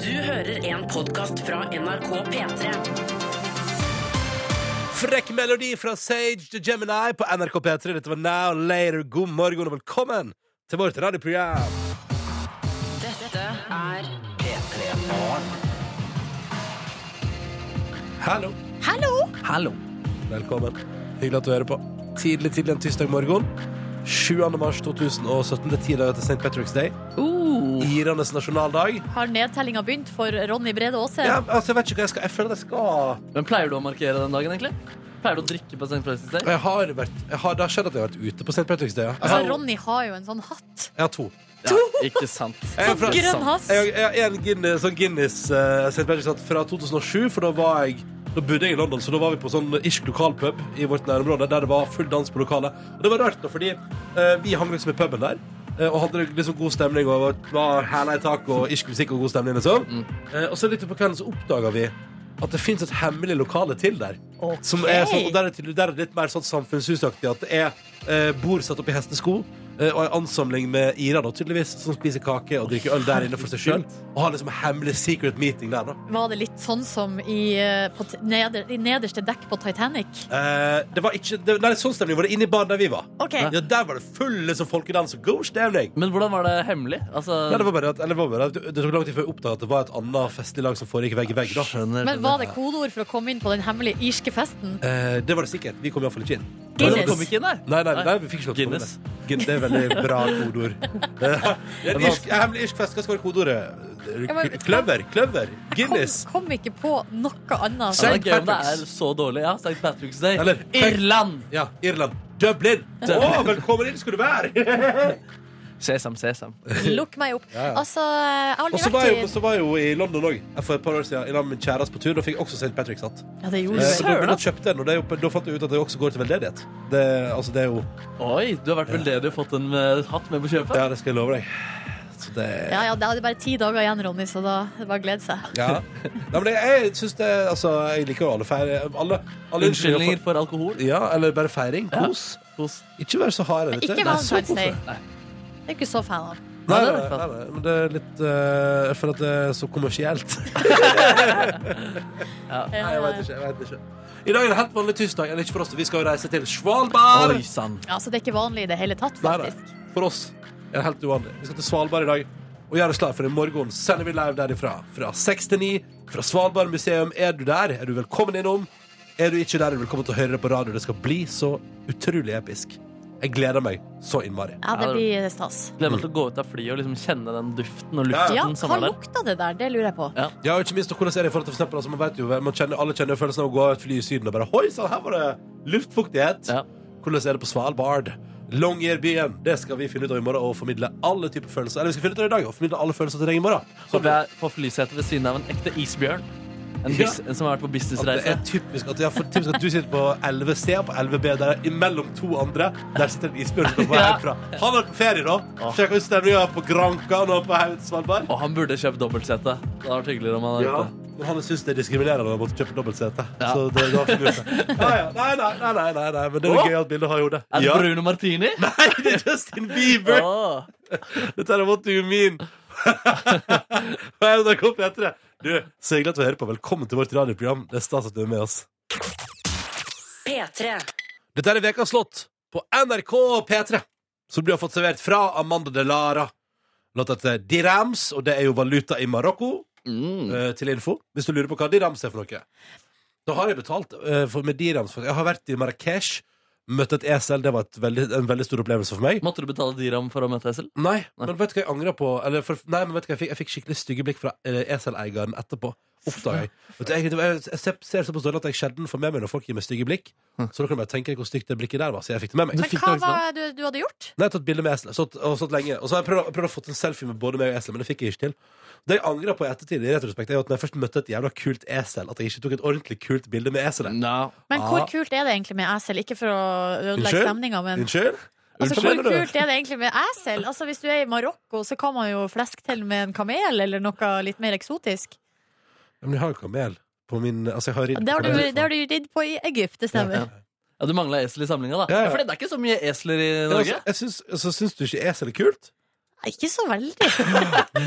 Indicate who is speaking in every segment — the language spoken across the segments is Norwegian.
Speaker 1: Du hører en podkast fra NRK P3.
Speaker 2: Frekk melodi fra Sage the Gemini på NRK P3. Dette var Now Later. God morgen og velkommen til vårt radioprogram.
Speaker 1: Dette er
Speaker 2: Hallo. Velkommen. Hyggelig at du hører på. Tidlig, tidlig en tirsdag morgen. 7. mars 2017. Det er ti dager til St. Patrick's Day. Irenes nasjonaldag.
Speaker 3: Har nedtellinga begynt for Ronny Brede Aase?
Speaker 2: Ja, altså, jeg vet ikke hva jeg skal Jeg føler at jeg skal
Speaker 4: Men pleier du å markere den dagen, egentlig? Pleier du å drikke på St. Patrick's Day?
Speaker 2: jeg har vært, jeg har, Det har skjedd at jeg har vært ute på St. Patrick's Day. Ja. Jeg,
Speaker 3: Altså,
Speaker 2: har,
Speaker 3: Ronny har jo en sånn hatt.
Speaker 2: jeg har to.
Speaker 4: Ja, ikke sant.
Speaker 2: Jeg er Eh, fra-
Speaker 3: Grønn hatt.
Speaker 2: Jeg, jeg har en Guinness, sånn Guinness eh, St. Patrick's hatt fra 2007, for da var jeg da bodde jeg i London, så da var vi på sånn irsk lokalpub i vårt nærområde, der det var full dans på lokalet. Og det var rart, da, fordi eh, vi hang liksom i puben der, eh, og hadde liksom god stemning, og var- var hæla i taket, og irsk musikk og god stemning, liksom. Eh, og så litt på kvelden så oppdaga vi at det fins et hemmelig lokale til der. Som er sånn, og der er, tydelig, der er det litt mer sånn samfunnshusaktig. At det er eh, bord satt opp i hestesko eh, og en ansamling med Ira, da, tydeligvis, som spiser kake og drikker øl der inne for seg sjøl. Og har liksom en hemmelig secret meeting der, da.
Speaker 3: Var det litt sånn som i, eh, på, t- neder, i nederste dekk på Titanic?
Speaker 2: Eh, det var ikke det, Nei, sånn stemning var det inne i baren der vi var.
Speaker 3: Ok,
Speaker 2: Ja, Der var det full liksom, folkedans og god stemning.
Speaker 4: Men hvordan var det hemmelig? Altså,
Speaker 2: Nei, det, var bare at, eller, det, var bare, at det tok lang tid før jeg oppdaga at det var et annet festlig lag som foregikk vegg i vegg. da
Speaker 4: skjønner
Speaker 3: Men var det kodeord for å komme inn på den hemmelige irske festen?
Speaker 2: Eh, Det var det sikkert. Vi kom iallfall ikke inn.
Speaker 4: Guinness.
Speaker 3: Guinness.
Speaker 4: kom ikke inn der?
Speaker 2: Nei, nei, nei, vi fikk ikke lov til å
Speaker 4: Guinness.
Speaker 2: komme med det. Gin- Det er veldig bra kodeord. Eh, en irsk- en Hemmelig irsk fest, hva skal være
Speaker 3: Ja, men-
Speaker 2: kodeordet? eh, Kløver, kløver,
Speaker 3: Kom,
Speaker 2: Guinness.
Speaker 3: kom ikke på noe annet.
Speaker 4: Ja,
Speaker 2: St.
Speaker 4: det er gøy om det
Speaker 2: Patrick's.
Speaker 4: er så dårlig. Ja, St. Patrick's Day.
Speaker 2: Eller-
Speaker 4: Irland!
Speaker 2: Ja, Irland. Dublin. Å, velkommen inn skal du være!
Speaker 4: Sesam, sesam.
Speaker 3: Lukk meg opp.
Speaker 2: Ja, ja.
Speaker 3: Altså, jeg har
Speaker 2: Og
Speaker 3: aldri
Speaker 2: så var jeg jo-
Speaker 3: vært i
Speaker 2: så var jeg jo i London òg for et par år siden. I lag med min kjæreste på tur. Da fikk jeg også St. Patrick's hatt.
Speaker 3: Ja, det gjorde
Speaker 2: Eh,
Speaker 3: du
Speaker 2: og
Speaker 3: vel.
Speaker 2: Da, da kjøpte jeg den, og det er jo- da fant jeg ut at det også går til veldedighet. Det, altså, det er jo
Speaker 4: Oi, du har vært veldedig og fått en eh, hatt med på kjøpet.
Speaker 2: Ja, det skal jeg love deg. Så det
Speaker 3: Ja, ja, det hadde bare ti dager igjen, Ronny, så da det var å glede seg.
Speaker 2: Ja. Nei, men det- jeg syns det Altså, jeg liker jo alle feir... Alle, alle
Speaker 4: Unnskyldninger for alkohol.
Speaker 2: Ja, eller bare feiring. Kos.
Speaker 4: Kos.
Speaker 2: Ikke vær så hard. Vet du.
Speaker 3: Ikke
Speaker 2: Nei, så
Speaker 3: Valentine's Day.
Speaker 2: hvorfor?
Speaker 4: Nei.
Speaker 3: Det er jeg ikke så fan av.
Speaker 2: Nei,
Speaker 4: Nei, det er
Speaker 2: nei,
Speaker 4: i hvert
Speaker 2: nei,
Speaker 4: fall.
Speaker 2: nei, men det er litt eh, Jeg føler at det er så kommersielt.
Speaker 3: Ja,
Speaker 2: Nei, jeg vet ikke, jeg vet ikke. I dag er det helt vanlig tirsdag. Eller ikke for oss, vi skal jo reise til
Speaker 4: Oi
Speaker 2: Svalbard.
Speaker 4: sann.
Speaker 3: Altså, det er ikke vanlig i det hele tatt,
Speaker 2: Nei, nei,
Speaker 3: faktisk.
Speaker 2: for oss er det helt uvanlig. Vi skal til Svalbard i dag og gjøre oss klar for i morgen. Sender vi live derifra fra 6 til 9 fra Svalbard museum. Er du der, er du velkommen innom. Er du ikke der, er du velkommen til å høre det på radio. Det skal bli så utrolig episk. Jeg gleder meg så innmari.
Speaker 3: Ja, det blir stas.
Speaker 4: Gleder meg til å gå ut av flyet og liksom kjenne den duften og luften
Speaker 3: Ja,
Speaker 4: som
Speaker 3: hva
Speaker 4: var der.
Speaker 3: lukta det der? Det lurer jeg på.
Speaker 2: Ja, og ikke minst, og hvordan er det i forhold til for eksempel, altså, man vet jo, man kjenner, Alle kjenner jo følelsen av å gå av et fly i Syden og bare Hoi sann, her var det luftfuktighet!
Speaker 4: Ja.
Speaker 2: Hvordan er det på Svalbard? Longyearbyen. Det skal vi finne ut av i morgen og formidle alle typer følelser. Eller vi skal finne ut av det i dag og formidle alle følelser til deg i morgen. Sånn.
Speaker 4: Så ble jeg på flysetet ved siden av en ekte isbjørn. En bus en som har vært på
Speaker 2: At det
Speaker 4: businessreise.
Speaker 2: er typisk at, ja, for, typisk at du sitter på 11C og på 11B, der er imellom to andre. Der sitter en isbjørn som er på vei
Speaker 4: Ja.
Speaker 2: herfra. Han er på ferie, da. Sjekk ut stemninga på Granka nå på Haug- Svalbard.
Speaker 4: Og han burde kjøpt dobbeltsete. Det hadde vært hyggeligere om han hadde
Speaker 2: Ja.
Speaker 4: gjort det.
Speaker 2: Men han syns det er diskriminerende å måtte kjøpe dobbeltsete.
Speaker 4: Ja.
Speaker 2: Så det, da finner vi ut det. Nei, ja. nei, nei, nei, nei, nei, nei, men det er
Speaker 4: Å?
Speaker 2: gøy at bildet har hodet.
Speaker 4: Er det
Speaker 2: Ja.
Speaker 4: Bruno Martini?
Speaker 2: Nei, det er Justin Bieber!
Speaker 4: Åh.
Speaker 2: Dette er What Do You Mean. Hva er det kom etter det? Du, så hyggelig at du hører på. Velkommen til vårt radioprogram. Det er stas at du er med oss.
Speaker 1: P3.
Speaker 2: Dette er Vekas låt på NRK P3, som du har fått servert fra Amanda de Lara. Låta heter Dirams, og det er jo valuta i Marokko,
Speaker 4: Mm.
Speaker 2: eh, til info. Hvis du lurer på hva dirams er for noe. Da har jeg betalt eh, for, med dirams. For, jeg har vært i Marrakech, møtt et esel. Det var et veldig, en veldig stor opplevelse for meg.
Speaker 4: Måtte du betale diram for å møte Esel?
Speaker 2: Nei, men vet du hva jeg angrer på? Eller for, nei, men vet du hva jeg fikk? Jeg fikk skikkelig stygge blikk fra eh, eseleieren etterpå. Oppdager jeg. Vet du, jeg, jeg, jeg ser, ser såpass dårlig at jeg sjelden får med meg når folk gir meg stygge blikk. Så da kan du bare tenke deg hvor stygt det blikket der var. Så jeg fikk det med meg.
Speaker 4: Hm. Du
Speaker 3: Men
Speaker 4: fikk
Speaker 3: hva
Speaker 4: det også,
Speaker 3: var det du, du hadde gjort?
Speaker 2: Nei, jeg har tatt bilde med eselet stått- og stått lenge. Og så har jeg prøvd, prøvd å få en selfie med både meg og eselet, men det fikk jeg ikke til. Det jeg angrer på i ettertid, i retrospekt, er jo at når jeg først møtte et jævla kult esel, at jeg ikke tok et ordentlig kult bilde med eselet.
Speaker 4: No.
Speaker 3: Men
Speaker 2: Ah.
Speaker 3: hvor kult er det egentlig med esel? Ikke for å ødelegge
Speaker 2: Unnskyld?
Speaker 3: stemninga, men
Speaker 2: Unnskyld?
Speaker 3: altså,
Speaker 2: Unnskyld,
Speaker 3: hvor
Speaker 2: mener du?
Speaker 3: kult er det egentlig med esel? Altså, hvis du er i Marokko, så kan man jo fleske til med en kamel eller noe litt mer eksotisk.
Speaker 2: Ja, Men jeg har jo kamel på min Altså, jeg har ridd
Speaker 3: Det har du,
Speaker 2: kamel.
Speaker 3: det har du ridd på i Egypt, det stemmer.
Speaker 4: Ja, du mangla esel i samlinga, da.
Speaker 2: Ja,
Speaker 4: Ja,
Speaker 2: ja.
Speaker 4: Fordi det er ikke så mye esler i
Speaker 2: Ja,
Speaker 4: Norge.
Speaker 2: altså, jeg syns, altså, syns du ikke esel er kult?
Speaker 3: Ikke så veldig.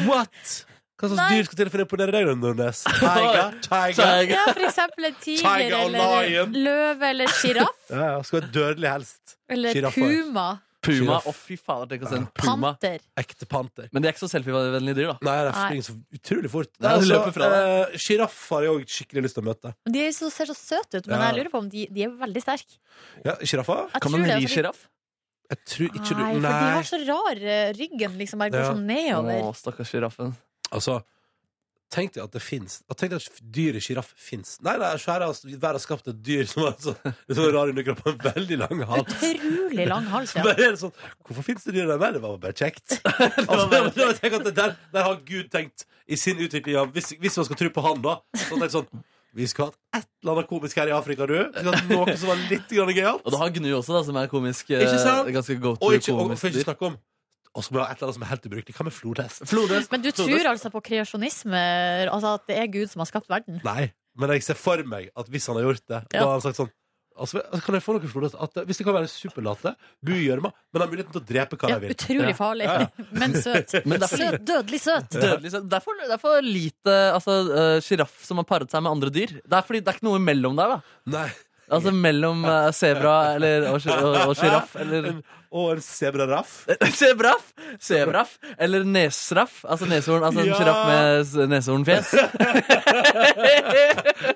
Speaker 2: What? Hva slags
Speaker 3: Nei.
Speaker 2: dyr skal til for å imponere deg, Nordnes? Tiger? Tiger?
Speaker 3: Ja, for eksempel en tiger
Speaker 2: Tiger og
Speaker 3: eller
Speaker 2: lion.
Speaker 3: løve eller sjiraff
Speaker 2: Ja, ja, skal være dødelig helst.
Speaker 3: eller
Speaker 2: Giraffer.
Speaker 3: puma.
Speaker 4: Puma.
Speaker 2: Giraff.
Speaker 4: Å, fy fader, tenk å se en puma.
Speaker 3: Panter.
Speaker 2: Ekte panter.
Speaker 4: Men de er ikke så selfievennlige dyr, da.
Speaker 2: Nei, de
Speaker 3: Nei.
Speaker 2: flyr så utrolig fort. Altså, eh,
Speaker 4: Nei, de løper fra
Speaker 2: Sjiraffer har jeg òg skikkelig lyst til å møte.
Speaker 3: De er så, ser så søte ut, men
Speaker 2: Ja.
Speaker 3: jeg lurer på om de, de er veldig sterke.
Speaker 2: Ja, Sjiraffer?
Speaker 3: Jeg
Speaker 4: Kan
Speaker 3: tror
Speaker 4: man
Speaker 3: det,
Speaker 4: ri
Speaker 3: fordi-
Speaker 4: sjiraff?
Speaker 2: Jeg tror
Speaker 3: Nei,
Speaker 2: ikke du
Speaker 3: for de
Speaker 2: Nei.
Speaker 3: har så rar eh, ryggen, liksom. Bare går
Speaker 2: Ja.
Speaker 3: sånn
Speaker 4: Å,
Speaker 3: nedover.
Speaker 4: stakkars sjiraffen.
Speaker 2: Altså, tenk deg at det fins Tenk deg at dyret sjiraff fins. Nei, det er svære, altså, verden har skapt et dyr som har så, så rar underkropp og en veldig lang hals.
Speaker 3: Utrolig lang hals, ja.
Speaker 2: Bare er det sånn, Hvorfor fins det dyr der? Nei, Det var bare kjekt. altså, det var- det var- tenk at det der, der har Gud tenkt i sin utvikling av Hvis, hvis man skal tro på han, da. Så har han tenkt sånn Vi skal ha et eller annet komisk her i Afrika, du. Vi skal ha noe som var litt grann gøyalt.
Speaker 4: Og du har gnu også, da, som er komisk. eh,
Speaker 2: Ikke sant?
Speaker 4: Ganske
Speaker 2: Og ikke, og, og,
Speaker 4: go-to-komisk
Speaker 2: for ikke
Speaker 4: dyr.
Speaker 2: snakke om Og så må vi ha et eller annet som er helt ubrukelig. Hva med flodhest?
Speaker 4: Flodhest.
Speaker 3: Men du tror altså på kreasjonisme, altså at det er Gud som har skapt verden?
Speaker 2: Nei, men jeg ser for meg at hvis han har gjort det, da
Speaker 3: Ja.
Speaker 2: har han sagt sånn altså, kan jeg få noe flodhest? At, eh, hvis det kan være superlate, bu i gjørma, men har muligheten til å drepe hva
Speaker 3: Ja,
Speaker 2: de vil.
Speaker 4: Ja.
Speaker 3: utrolig farlig,
Speaker 2: Ja,
Speaker 3: men søt.
Speaker 4: Men derfor-
Speaker 3: Søt, dødelig søt.
Speaker 4: Dødelig søt. Det er for- det er for lite altså, eh, sjiraff som har paret seg med andre dyr. Det er, fordi, det er ikke noe imellom der, da.
Speaker 2: Nei.
Speaker 4: Altså mellom eh, sebra eller- og sj- og og sjiraff. Eller
Speaker 2: En- Og en sebraraff.
Speaker 4: Sebraff! Sebraff eller nesraff. Altså neshorn, altså en
Speaker 2: Ja.
Speaker 4: sjiraff med s- neshornfjes.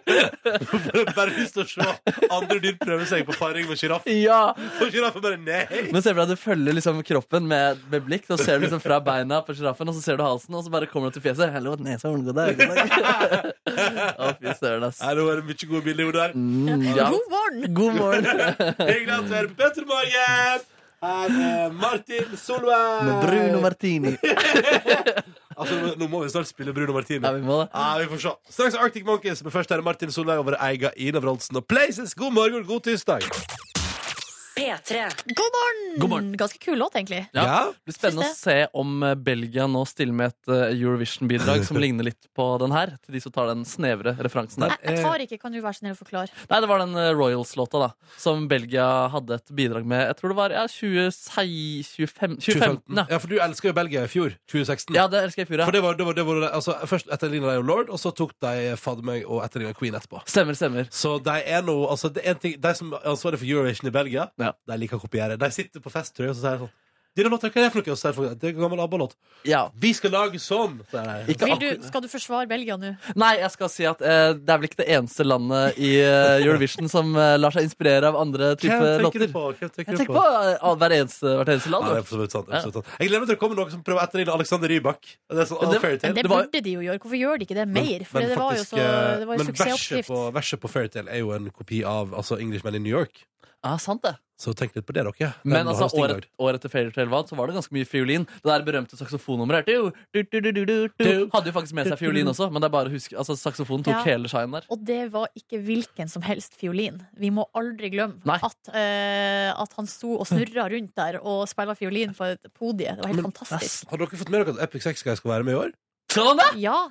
Speaker 2: Bare lyst til å se andre dyr prøve seg på paring med sjiraff.
Speaker 4: ja!
Speaker 2: Og sjiraffen bare nei!
Speaker 4: Men sebra du følger liksom kroppen med, med blikk. Da ser du liksom fra beina på sjiraffen, og så ser du halsen, og så bare kommer du til fjeset. Hallo, neshorn, god dag. god dag. Å, fy søren, ass.
Speaker 2: Nei, nå er det mye gode bilder i hodet her.
Speaker 4: Mm, ja.
Speaker 3: God morgen!
Speaker 4: God morgen.
Speaker 2: Hyggelig at du er på Petremorgen! Her er Martin Solveig!
Speaker 4: Med Bruno Martini.
Speaker 2: Altså, nå- nå må vi snart spille Bruno Martini.
Speaker 4: Ja, vi må det.
Speaker 2: Ja, vi får se. Straks Arctic Monkeys, men først er det Martin Solveig over eiga Ina Wroldsen og Places. God morgen, god tirsdag.
Speaker 1: P3.
Speaker 3: God morgen!
Speaker 4: God morgen.
Speaker 3: Ganske kul låt, egentlig.
Speaker 4: Ja. Det blir spennende å
Speaker 3: Syns
Speaker 4: se om eh, Belgia nå stiller med et eh, Eurovision-bidrag som ligner litt på den her, til de som tar den snevre referansen der.
Speaker 3: Jeg,
Speaker 2: Eh.
Speaker 3: jeg tar ikke, kan du være så snill å forklare?
Speaker 4: Nei, det var den eh, Royals-låta, da, som Belgia hadde et bidrag med. Jeg tror det var ja, 2016 25, 2015, ja.
Speaker 2: Ja, for du elsker jo Belgia i fjor. 2016.
Speaker 4: Ja, det elsker jeg fyret.
Speaker 2: For det var, det var, det var altså, Først etterligna de jo Lord, og så tok de fader meg og etterligna Queen etterpå.
Speaker 4: Stemmer, stemmer.
Speaker 2: Så de er nå altså, det er en ting, De som er ansvarlig for Eurovision i Belgia,
Speaker 4: Ja.
Speaker 2: de liker å kopiere. De sitter på fest, tror jeg, og så sier de sånn Dine låter, hva er det for noe? Og så sier folk det er en gammel ABBA-låt.
Speaker 4: Ja.
Speaker 2: Vi skal lage sånn! sier de.
Speaker 4: Ikke
Speaker 3: Vil du,
Speaker 4: akkurat-
Speaker 3: skal du forsvare Belgia nå?
Speaker 2: Eh,
Speaker 4: Nei, jeg skal si at eh, det er vel ikke det eneste landet i eh, Eurovision som eh, lar seg inspirere av andre type
Speaker 2: Hvem tenker
Speaker 4: låter.
Speaker 2: du på? Hvem tenker
Speaker 4: Jeg
Speaker 2: du
Speaker 4: tenker
Speaker 2: på?
Speaker 4: på eh, hver eneste, hvert eneste
Speaker 2: Ja,
Speaker 4: land.
Speaker 2: det er absolutt sant, absolutt sant. Jeg gleder meg til å komme noen som prøver å etterligne Alexander Rybak. Det er sånn,
Speaker 4: Men
Speaker 2: ah,
Speaker 4: det-
Speaker 2: fairytale.
Speaker 3: Det
Speaker 4: Det var-
Speaker 3: burde de jo gjøre. Hvorfor gjør de ikke det mer? For
Speaker 2: Men
Speaker 3: det var jo
Speaker 2: faktisk, eh,
Speaker 3: så, det var jo
Speaker 2: men verset
Speaker 3: suksessoppskrift.
Speaker 2: på, verset på Fairytale er jo en kopi av altså, Englishman in New York.
Speaker 4: ah, sant det.
Speaker 2: Så tenk litt på det, dere.
Speaker 4: Men altså,
Speaker 2: Harald
Speaker 4: året, året etter Fairytale vant, så var det ganske mye fiolin. Det der berømte saksofonnummeret her, du, du, du, du, du, du, hadde jo faktisk med seg fiolin også, men det er bare å huske Altså, saksofonen tok
Speaker 3: Ja.
Speaker 4: hele shinen der.
Speaker 3: Og det var ikke hvilken som helst fiolin. Vi må aldri glemme
Speaker 4: Nei.
Speaker 3: at, eh, at han sto og snurra rundt der og spilla fiolin på et podie. Det var helt
Speaker 2: Men-
Speaker 3: fantastisk.
Speaker 2: Har dere fått med dere at Epic Sex Guy skal være med i år?
Speaker 4: Skal han det?
Speaker 3: Ja,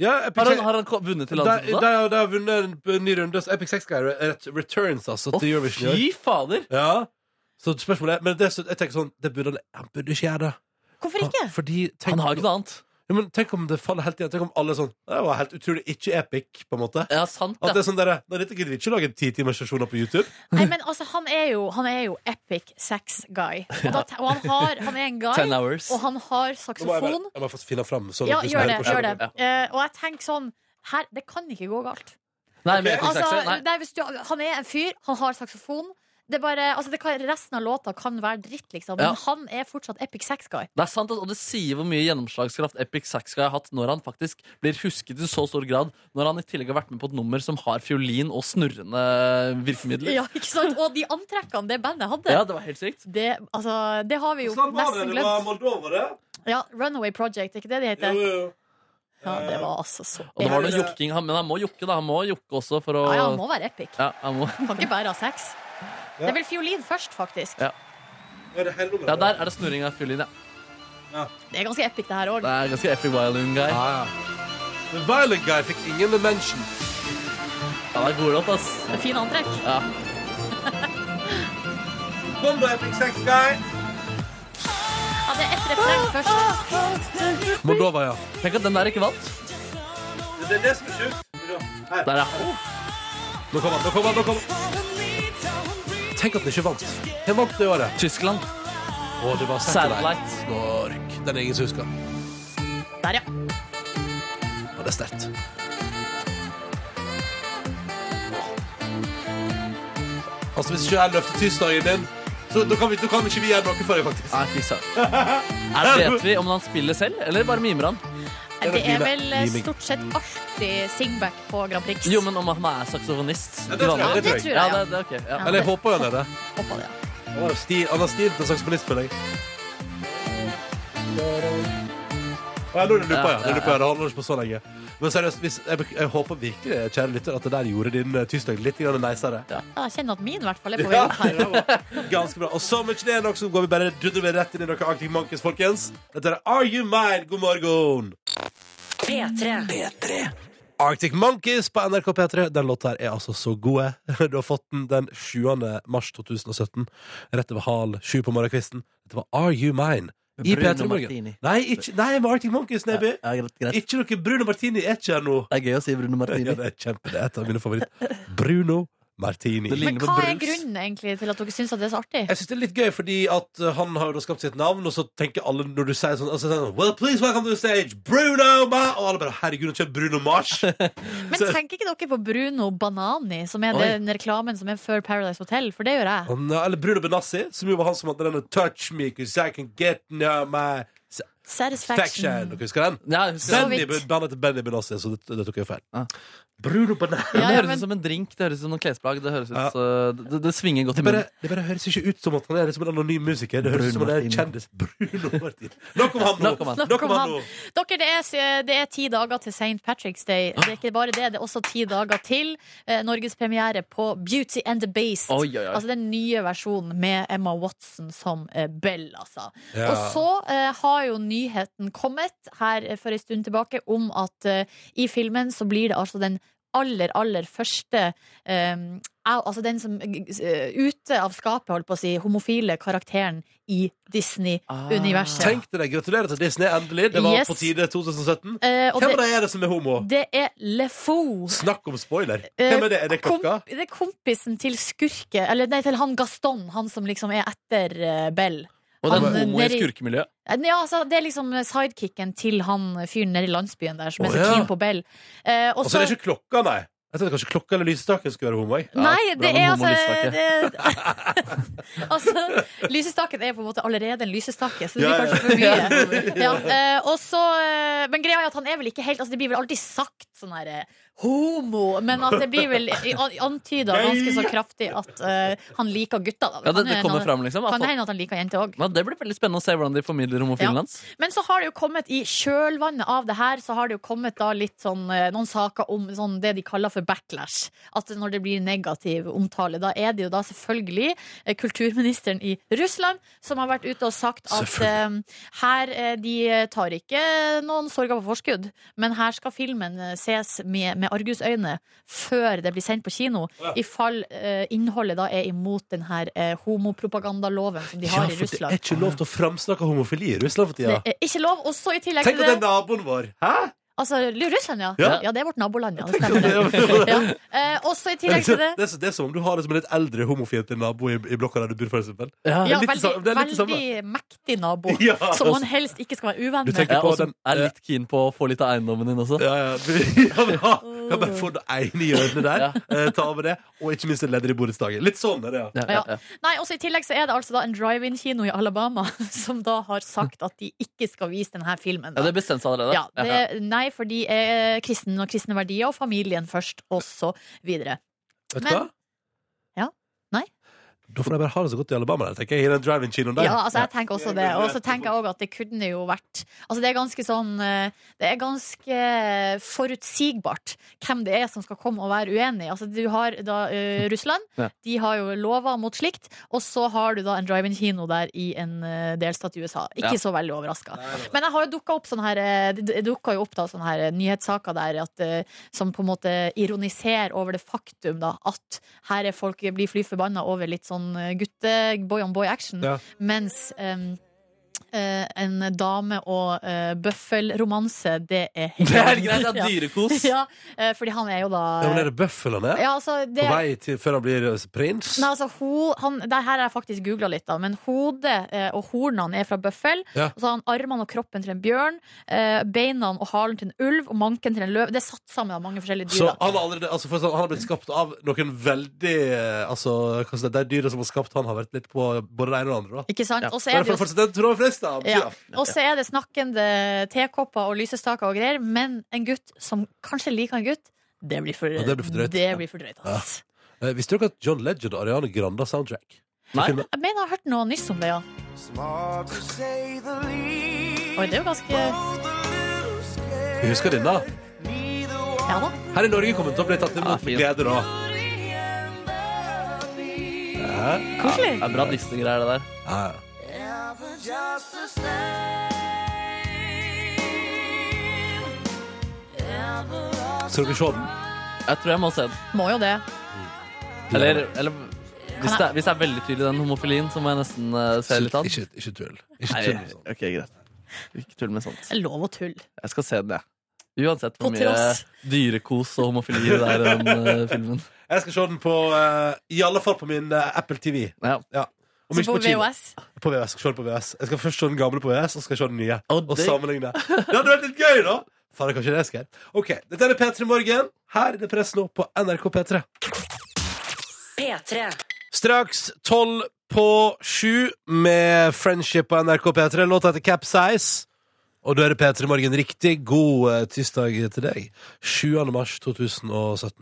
Speaker 2: Ja, Epic
Speaker 4: Har han,
Speaker 2: Sex-
Speaker 4: har han ko- vunnet til
Speaker 2: de, de,
Speaker 4: landsmøtet?
Speaker 2: har- de har vunnet en p- ny runde, så Epic Sex Guy ret- returns altså
Speaker 4: Å,
Speaker 2: til Eurovision i år.
Speaker 4: fy fader!
Speaker 2: Ja. Så spørsmålet er Men det, er så- jeg tenker sånn, det burde han han burde ikke gjøre det.
Speaker 3: hvorfor ikke?
Speaker 2: Fordi, tenk,
Speaker 4: Han har jo ikke noe annet.
Speaker 2: ja, men tenk om det faller helt igjen. Tenk om alle er sånn Det var helt utrolig ikke epic, på en måte.
Speaker 4: Ja, sant
Speaker 2: At det
Speaker 4: det.
Speaker 2: er sånn der, Nei, dette gidder vi ikke å lage titimerssesjoner på YouTube.
Speaker 3: Nei, men altså, han er jo, han er jo epic sex guy. Og, da, og han, har, han er en
Speaker 4: Ten
Speaker 3: guy,
Speaker 4: hours.
Speaker 3: og han har
Speaker 2: Nå må jeg bare,
Speaker 3: saksofon.
Speaker 2: jeg må få finne fram. sånn
Speaker 3: Ja,
Speaker 2: at du
Speaker 3: gjør
Speaker 2: som
Speaker 3: det.
Speaker 2: hører på
Speaker 3: gjør det
Speaker 2: skjermen.
Speaker 3: Eh, Og jeg tenker sånn her, Det kan ikke gå galt.
Speaker 4: Nei, men jeg kan
Speaker 3: Altså,
Speaker 4: ikke si- nei.
Speaker 3: nei, hvis du, han er en fyr, han har saksofon. Det er bare, altså det kan, resten av låta kan være dritt, liksom, men
Speaker 4: Ja.
Speaker 3: han er fortsatt epic sex guy.
Speaker 4: Det er sant, og det sier hvor mye gjennomslagskraft Epic Sax skal ha hatt når han faktisk blir husket i så stor grad, når han i tillegg har vært med på et nummer som har fiolin og snurrende virkemidler.
Speaker 3: Ja, ikke sant? Og de antrekkene det bandet hadde,
Speaker 4: Ja, det var helt sykt.
Speaker 3: det, altså, det har vi jo
Speaker 2: Sånn var det,
Speaker 3: nesten
Speaker 2: det var
Speaker 3: glemt.
Speaker 2: Moldova, det.
Speaker 3: Ja, Runaway Project, er ikke det de
Speaker 2: Jo,
Speaker 3: heter?
Speaker 2: jo, jo.
Speaker 3: Ja, det var altså så
Speaker 4: Og det var noe
Speaker 2: Ja, ja.
Speaker 4: jukking, han- men han må jukke, da. Han må jukke også for å
Speaker 3: Ja, ja, han må være epic.
Speaker 4: Ja, han må.
Speaker 3: Han kan ikke bare ha sex.
Speaker 2: Ja.
Speaker 3: Det er vel fiolin først, faktisk.
Speaker 4: Ja.
Speaker 2: Er det hele nummeret?
Speaker 4: ja der er det snurring av fiolin, ja.
Speaker 3: Det er ganske epic, det her òg.
Speaker 4: Det er ganske epic violin guy.
Speaker 2: Ja,
Speaker 4: Ja,
Speaker 2: ja. The Violent Guy fikk ingen mention.
Speaker 4: det er god låt, ass.
Speaker 3: Fin antrekk.
Speaker 4: Ja.
Speaker 2: Bomba Epic Sex Guy.
Speaker 3: Ja, det ett refreng først.
Speaker 2: Moldova, ja.
Speaker 4: Tenk at den der ikke vant.
Speaker 2: Det er det som er sjukt. Her.
Speaker 4: Der, ja.
Speaker 2: Nå kommer han, nå kommer han, nå kommer han. Tenk at den ikke vant. Den vant det året.
Speaker 4: Tyskland.
Speaker 2: Å, det var
Speaker 4: Satellite.
Speaker 2: Snork. Den er ingen som husker.
Speaker 3: Der, ja.
Speaker 2: Og det er sterkt. Altså, hvis ikke jeg løfter tirsdagen din, så da kan, vi, da kan ikke vi gjøre noe for deg, faktisk.
Speaker 4: Nei, fy søren. Er- Vet vi om han spiller selv, eller bare mimer han?
Speaker 3: Det er vel eh,
Speaker 2: Miming.
Speaker 3: stort sett alltid singback på Grand Prix.
Speaker 4: Jo, men om han er saksofonist.
Speaker 2: Ja, det tror jeg,
Speaker 4: Vanlig.
Speaker 3: ja, det tror jeg.
Speaker 4: Ja,
Speaker 3: Ja,
Speaker 4: det, det, er ok, ja.
Speaker 2: Eller jeg håper jo han er det.
Speaker 3: Håper det, ja.
Speaker 2: Han har stil, han har stil til saksofonist, føler jeg. Ja, nå er det luppa, ja. Nå er det luppa, ja. Det holder ikke på så lenge. Men seriøst, hvis, jeg, bek- jeg håper virkelig, kjære lytter, at det der gjorde din eh, tirsdag litt grann neisere.
Speaker 3: Jeg kjenner at min i hvert fall er på vei opp her.
Speaker 2: Ganske bra. Og som ikke det er nok, så går vi bare dudrer vi rett inn i noe Arctic Monkeys, folkens. Dette er Are You Mine? God morgen!
Speaker 1: P3.
Speaker 2: Arctic Monkeys på NRK P3. Den låta her er altså så god. jeg. Du har fått den den 7. mars 2017. Rett over hal sju på morgenkvisten. Dette var Are You Mine? I
Speaker 4: Bruno
Speaker 2: P3 Morgen.
Speaker 4: Martini.
Speaker 2: Nei, ikke, nei, med Arctic Monkeys, Neby.
Speaker 4: Ja, greit, greit.
Speaker 2: Ikke noe Bruno Martini er ikke her nå.
Speaker 4: Det er gøy å si Bruno
Speaker 2: Ja,
Speaker 4: Martini.
Speaker 2: det er kjempe, det er et av mine favoritt. Bruno Martini.
Speaker 4: Det ligner
Speaker 3: Men
Speaker 4: på
Speaker 3: hva er
Speaker 4: brus.
Speaker 3: grunnen egentlig til at dere syns at det er så artig?
Speaker 2: Jeg synes det er litt gøy, fordi at uh, han har jo da skapt sitt navn, og så tenker alle når du sier sånn, altså, sånn Well, please welcome to the stage, Bruno Ma Og alle bare Herregud, han kjører Bruno Mars.
Speaker 3: Men
Speaker 2: Så-
Speaker 3: tenker ikke dere på Bruno Banani, som er
Speaker 4: Oi.
Speaker 3: den reklamen som er før Paradise Hotel? For det gjør jeg.
Speaker 2: han, eller Bruno Benassi, som jo var han som hadde denne Touch me, cause I can get near my faction.
Speaker 3: Satisfaction.
Speaker 2: Dere husker den?
Speaker 4: Ja, jeg husker det.
Speaker 3: Så
Speaker 2: Benny,
Speaker 3: vidt.
Speaker 2: den heter Benny Benassi, så det, det tok jeg feil.
Speaker 4: Ah.
Speaker 2: Bruno Benassi
Speaker 4: det
Speaker 3: Ja, ja,
Speaker 4: høres ut
Speaker 3: men
Speaker 4: som en drink, det høres ut som noen klesplagg. Det høres ut
Speaker 2: Ja.
Speaker 4: så- det, det svinger godt
Speaker 2: det
Speaker 4: i
Speaker 2: bare,
Speaker 4: munnen.
Speaker 2: det bare høres ikke ut som at han er liksom en anonym musiker. Det høres ut
Speaker 4: Bruno
Speaker 2: som han er en
Speaker 4: Martini.
Speaker 2: kjendis. Bruno Martin. Nok om han nå!
Speaker 4: Nok om han.
Speaker 2: Nok om han nå.
Speaker 3: Dere, det er, s- det er ti dager til St. Patrick's Day. Det er ikke bare det, det er også ti dager til eh, norgespremiere på Beauty and the Beast.
Speaker 4: Oi, oi, oi.
Speaker 3: Altså den nye versjonen med Emma Watson som eh, Bell, altså.
Speaker 2: Ja.
Speaker 3: Og så eh, har jo nyheten kommet her eh, for en stund tilbake om at eh, i filmen så blir det altså den aller, aller første eh, au- Altså den som eh, ute av skapet, holdt på å si, homofile karakteren i Disney-universet.
Speaker 2: Tenk til deg. Gratulerer til Disney, endelig. Det var
Speaker 3: Yes.
Speaker 2: på tide 2017.
Speaker 3: Eh, og
Speaker 2: Hvem
Speaker 3: det-
Speaker 2: av de er det som er homo?
Speaker 3: Det er LeFou.
Speaker 2: Snakk om spoiler!
Speaker 3: Eh,
Speaker 2: Hvem er det? Er det klokka?
Speaker 3: Komp- det er kompisen til skurke Eller nei, til han Gaston, han som liksom er etter eh, Bell.
Speaker 4: Og det er
Speaker 3: Han,
Speaker 4: en homo i
Speaker 3: nedi-
Speaker 4: skurkemiljøet.
Speaker 3: Eh, Ja, altså, det er liksom sidekicken til han fyren nede i landsbyen der som
Speaker 2: Å,
Speaker 3: er så
Speaker 2: ja.
Speaker 3: keen på Bell. Eh, og
Speaker 2: Altså,
Speaker 3: så-
Speaker 2: det er ikke klokka, nei. Jeg tenkte kanskje klokka eller lysestaken skulle være homo. jeg.
Speaker 4: Ja,
Speaker 3: Nei, det
Speaker 4: bra med
Speaker 3: er
Speaker 4: homo
Speaker 3: altså
Speaker 4: lysestake.
Speaker 3: det- Altså, lysestaken er på en måte allerede en lysestake, så det
Speaker 2: Ja,
Speaker 3: blir
Speaker 2: ja.
Speaker 3: kanskje for mye. Ja, eh, og så, eh, men greia er at han er vel ikke helt Altså, det blir vel alltid sagt sånn her eh, homo, men at det blir vel i- an- antyda ganske så kraftig at eh, han liker gutter, da.
Speaker 4: Ja, det,
Speaker 3: Kan
Speaker 4: det
Speaker 3: jo
Speaker 4: kommer
Speaker 3: hende-
Speaker 4: fram, liksom.
Speaker 3: Kan
Speaker 4: At,
Speaker 3: det hende at han liker jenter òg?
Speaker 4: ja, det blir veldig spennende å se hvordan de formidler
Speaker 3: Ja.
Speaker 4: homofilen hans.
Speaker 3: Men så har det jo kommet i kjølvannet av det her, så har det jo kommet da litt sånn eh, noen saker om sånn det de kaller for backlash. At når det blir negativ omtale, da er det jo da selvfølgelig eh, kulturministeren i Russland som har vært ute og sagt at eh, her eh, de tar ikke noen sorger på forskudd, men her skal filmen eh, ses med, med argusøyne før det blir sendt på kino, i fall eh, innholdet da er imot den her eh, homopropagandaloven som de
Speaker 2: Ja,
Speaker 3: har i
Speaker 2: for det
Speaker 3: Russland.
Speaker 2: er ikke lov til å framsnakke homofili i Russland for
Speaker 3: Det
Speaker 2: tida.
Speaker 3: er ikke lov. Og så i tillegg
Speaker 2: Tenk
Speaker 3: til
Speaker 2: at det er
Speaker 3: det
Speaker 2: naboen vår! Hæ?
Speaker 3: Altså, Russland, ja.
Speaker 4: Ja.
Speaker 3: ja. det er vårt naboland, ja. Det
Speaker 2: Tenk at
Speaker 3: stemmer.
Speaker 2: det er-
Speaker 3: det. Ja. Eh, også i tillegg til det
Speaker 2: Det er, så- det er som om du har liksom en litt eldre homofiendtlig nabo i, i blokka der du bor, for eksempel.
Speaker 3: ja,
Speaker 2: litt det
Speaker 3: veldig,
Speaker 2: samme- det er litt det samme.
Speaker 3: veldig mektig nabo,
Speaker 2: Ja. altså.
Speaker 3: som man helst ikke skal være uvenn
Speaker 2: Du
Speaker 3: med.
Speaker 2: tenker-
Speaker 4: Ja, altså-
Speaker 2: på
Speaker 4: og som
Speaker 2: den-
Speaker 4: er litt keen på å få litt av eiendommen din også.
Speaker 2: Ja, ja. ja, men, ja. Kan bare
Speaker 3: Mm.
Speaker 2: få det ene hjørnet der, eh, ta over det, og ikke minst en leder i borettslaget. Litt sånn er det, ja.
Speaker 4: Ja, ja,
Speaker 3: Ja.
Speaker 4: ja.
Speaker 3: Nei, også I tillegg så er det altså da en drive-in-kino i Alabama som da har sagt at de ikke skal vise denne filmen. Da.
Speaker 4: ja, det bestemte seg allerede.
Speaker 3: Ja, det, nei, for de er kristne og kristne verdier, og familien først, og så videre.
Speaker 2: Vet du
Speaker 3: Men-
Speaker 2: hva?
Speaker 3: Ja. Nei.
Speaker 2: Da får de bare ha det så godt i Alabama, der, tenker jeg. I den drive-in-kinoen der.
Speaker 3: Ja, altså jeg tenker også det. Og så tenker jeg også at det kunne jo vært Altså det er ganske sånn eh, Det er ganske forutsigbart hvem det er som skal komme og være uenig. Altså du har da eh, Russland.
Speaker 4: Ja.
Speaker 3: De har jo lover mot slikt. Og så har du da en drive-in-kino der i en eh, delstat i USA. Ikke
Speaker 4: Ja.
Speaker 3: så veldig overraska. Men jeg har jo dukka opp sånne her eh, Det dukka jo opp da sånne her eh, nyhetssaker der at, eh, som på en måte ironiserer over det faktum da at her er folk blir fly forbanna over litt sånn eh, gutte boy on boy action,
Speaker 2: Ja.
Speaker 3: mens em, eh, en dame- og eh, bøffelromanse, det er helt
Speaker 4: Det er helt greit, det
Speaker 3: Ja.
Speaker 4: er dyrekos.
Speaker 3: Ja, eh, fordi han er jo da
Speaker 2: Ja, men er det bøffel han er?
Speaker 3: Ja, altså, det
Speaker 2: På vei til før han blir eh, prins?
Speaker 3: Nei, altså, ho, han, det her har jeg faktisk googla litt, da. Men hodet eh, og hornene er fra bøffel.
Speaker 2: Ja.
Speaker 3: Og så har han armene og kroppen til en bjørn. Eh, beina og halen til en ulv og manken til en løv. Det er satt sammen av mange forskjellige
Speaker 2: Så
Speaker 3: dyr. da.
Speaker 2: han har, allerede, altså for å si det sånn, han har blitt skapt av noen veldig eh, Altså, hva skal jeg si, De dyra som har skapt han, har vært litt på både det ene og det andre. Da.
Speaker 3: Ikke sant?
Speaker 4: Ja.
Speaker 3: Og så
Speaker 2: Bare
Speaker 3: er det
Speaker 2: for
Speaker 3: jo
Speaker 2: å fortsette den tråden flest, da.
Speaker 3: ja. Og så er det snakkende tekopper og lysestaker og greier, men en gutt som kanskje liker en gutt, det blir for,
Speaker 2: Ja, det blir for drøyt.
Speaker 3: det blir for drøyt, ass.
Speaker 2: Eh, Visste dere at John Legend og Ariane Grande har soundtrack?
Speaker 4: Nei.
Speaker 2: Filmen.
Speaker 3: Jeg mener jeg har hørt noe nyss om det, ja.
Speaker 5: Smart to say the
Speaker 3: Oi,
Speaker 5: least.
Speaker 3: det er jo ganske
Speaker 2: Vi husker denne.
Speaker 3: Ja da.
Speaker 2: Her i Norge kommer den til å bli tatt
Speaker 4: Ja,
Speaker 2: imot med
Speaker 4: fint.
Speaker 2: glede, da.
Speaker 3: Koselig.
Speaker 4: Det er bra Disney-greier, det der.
Speaker 2: Ja, ja. Skal dere se den?
Speaker 4: Jeg tror jeg må se den.
Speaker 3: Må jo det.
Speaker 4: Eller, eller hvis, det er, hvis det er veldig tydelig den homofilien, så må jeg nesten eh, se litt av den.
Speaker 2: Ikke, ikke tull. Ikke
Speaker 4: Nei, altså.
Speaker 2: tull med sånt.
Speaker 4: ok, greit. Ikke tull med sånt.
Speaker 3: Det er lov å tulle.
Speaker 4: Jeg skal se den, jeg. Uansett
Speaker 3: På
Speaker 4: hvor mye
Speaker 3: tross.
Speaker 4: dyrekos og homofili det er i den eh, filmen.
Speaker 2: Jeg skal se den på eh, I alle fall på min eh, Apple TV.
Speaker 4: Ja.
Speaker 2: Ja. Om
Speaker 3: Så
Speaker 2: ikke
Speaker 3: på
Speaker 2: kino.
Speaker 3: VHS.
Speaker 2: På VHS. Jeg skal se den på VHS. Jeg skal først se den gamle på VHS, og så skal jeg se den nye.
Speaker 4: Og
Speaker 2: Og
Speaker 4: det-
Speaker 2: sammenligne. Det hadde vært litt gøy, da! Faen, kanskje det skal Ok, Dette er P3 Morgen. Her er det press nå på NRK P3.
Speaker 1: P3.
Speaker 2: Straks tolv på sju med Friendship på NRK P3. Låta heter Capsize. Og da er det P3 Morgen. Riktig god eh, tirsdag til deg. 7. mars 2017.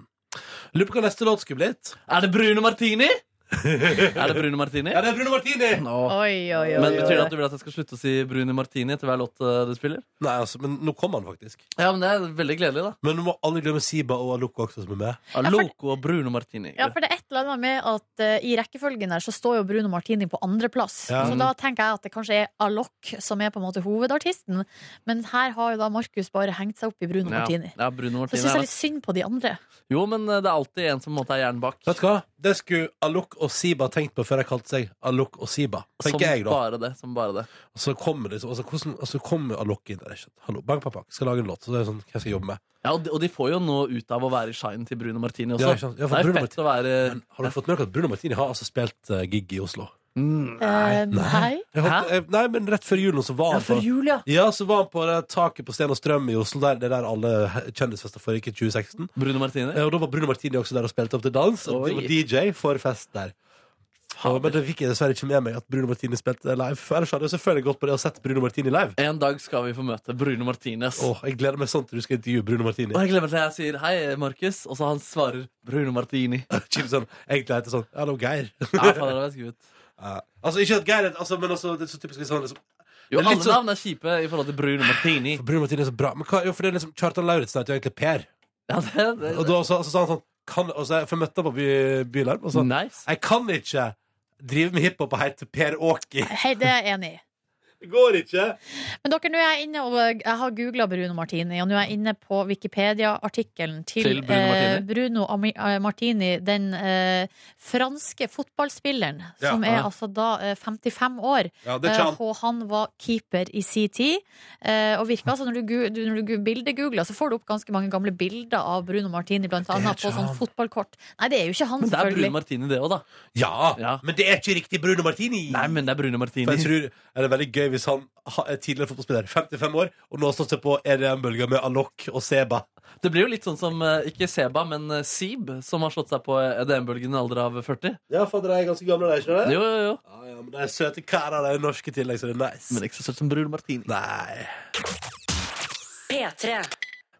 Speaker 2: Lurer på hva neste låt skulle blitt.
Speaker 4: Er det Bruno Martini? Er det Bruno Martini?
Speaker 2: Ja, det er Bruno Martini!
Speaker 4: Nå.
Speaker 3: Oi, oi, oi.
Speaker 4: Men Betyr det
Speaker 3: oi.
Speaker 4: at du vil at jeg skal slutte å si Bruno Martini til hver låt eh, du spiller?
Speaker 2: Nei, altså, men nå kom han faktisk.
Speaker 4: Ja, men Det er veldig gledelig, da.
Speaker 2: Men du må aldri glemme Siba og Aloko også, som er med.
Speaker 4: Ja,
Speaker 3: Ja, for-
Speaker 4: Loco og Bruno Martini.
Speaker 3: Ja, for det er et eller annet med at eh, i rekkefølgen der så står jo Bruno Martini på andreplass.
Speaker 2: Ja.
Speaker 3: Så da tenker jeg at det kanskje er Alok som er på en måte hovedartisten. Men her har jo da Markus bare hengt seg opp i Bruno
Speaker 4: ja.
Speaker 3: Martini.
Speaker 4: Ja, Bruno
Speaker 3: Så
Speaker 4: Martini
Speaker 3: jeg syns
Speaker 4: er
Speaker 3: jeg litt synd på de andre.
Speaker 4: det. Jo, men eh, det er alltid en som på en måte er hjernen bak.
Speaker 2: Vet du hva? Det skulle Alok og Siba tenkt på før de kalte seg Alok og Siba.
Speaker 4: Som
Speaker 2: Tenker jeg, da.
Speaker 4: bare det. Som bare det.
Speaker 2: Og så kommer det, altså, hvordan, altså, kommer Alok inn der. ikke sant? Hallo, bang, bang, bang. Skal lage en låt. Så det er sånn, hva skal jeg jobbe med?
Speaker 4: Ja, og de, og de får jo noe ut av å være i shine til Bruno Martini også.
Speaker 2: Ja, ikke sant? Ja, for
Speaker 4: det er
Speaker 2: Bruno
Speaker 4: fett å være
Speaker 2: Men har du fått med dere at Bruno Martini har altså spilt eh, gig i Oslo?
Speaker 4: mm.
Speaker 3: Nei. Eh, Nei.
Speaker 2: Jeg holdt, eh, nei, men rett før julen så var han på
Speaker 4: jul,
Speaker 2: ja, så var han på det taket på Sten og Strøm i Oslo. Der, det er der alle he- kjendisfester foregikk i 2016.
Speaker 4: Bruno Martini.
Speaker 2: Eh, Og da var Bruno Martini også der og spilte opp til dans. Og det
Speaker 4: Oi.
Speaker 2: var DJ for fest der. Og, men det fikk jeg dessverre ikke med meg at Bruno Martini spilte live. For ellers hadde jeg selvfølgelig gått på det og sett Bruno Martini live.
Speaker 4: En dag skal vi få møte Bruno Martinez.
Speaker 2: Åh, jeg gleder meg sånn til du skal intervjue Bruno Martini.
Speaker 4: Og jeg glemmer til jeg sier 'hei, Markus', og så han svarer 'Bruno Martini'.
Speaker 2: Kjipt sånn, Egentlig heter det sånn Hallo, Geir.
Speaker 4: Ja, faen, det var skummelt.
Speaker 2: Ja. Altså, ikke at Geir er- altså, Men også, det er så typisk liksom, liksom, Det er
Speaker 4: Jo, alle
Speaker 2: litt sånn-
Speaker 4: navn er kjipe i forhold til Bruno Martini.
Speaker 2: for Bruno Martini er så bra. Men hva, jo, for det er liksom Kjartan Lauritzen heter jo egentlig Per.
Speaker 4: Ja, det, det,
Speaker 2: Og da så, så sa han sånn kan, og så, For jeg møtte han på by, Bylarm og sånn
Speaker 4: nice.
Speaker 2: Jeg kan ikke drive med hiphop og hete Per Åker.
Speaker 3: Hei, det er jeg enig i.
Speaker 2: Det går ikke.
Speaker 3: Men dere, nå er jeg inne og eh, jeg har googla Bruno Martini, og nå er jeg inne på Wikipedia-artikkelen til,
Speaker 4: Til Bruno Martini.
Speaker 3: eh, Bruno Ami- eh, Martini, den eh, franske fotballspilleren,
Speaker 2: Ja.
Speaker 3: som er
Speaker 4: Ja.
Speaker 3: altså da eh, 55 år.
Speaker 2: Ja, det er ikke
Speaker 3: Eh, Og han var keeper i sin tid. Eh, Og virka, altså når du, gu- du, når du gu- bildegoogler, så får du opp ganske mange gamle bilder av Bruno Martini, blant annet, på
Speaker 2: ikke
Speaker 3: sånn
Speaker 2: han.
Speaker 3: fotballkort. Nei, det er jo ikke han,
Speaker 4: Men det er Bruno
Speaker 3: selvfølgelig.
Speaker 4: Martini, det òg, da.
Speaker 2: Ja,
Speaker 4: Ja.
Speaker 2: men det er ikke riktig Bruno Martini.
Speaker 4: Nei, men det er Bruno
Speaker 2: For jeg
Speaker 4: Martini.
Speaker 2: tror er det er veldig gøy hvis han ha- er tidligere fotballspiller, 55 år, og nå har stått seg på EDM-bølga med Alok og Seba.
Speaker 4: Det blir jo litt sånn som eh, ikke Seba, men eh, Sib, som har slått seg på EDM-bølgen i en alder av 40.
Speaker 2: Ja, for dere er ganske gamle, dere, ikke
Speaker 4: Jo, jo, jo.
Speaker 2: Ja, ja, men de er søte karer, de er norske i tillegg, så det er nice.
Speaker 4: Men ikke så søtt som Bruno Martini.
Speaker 2: Nei.
Speaker 1: P3.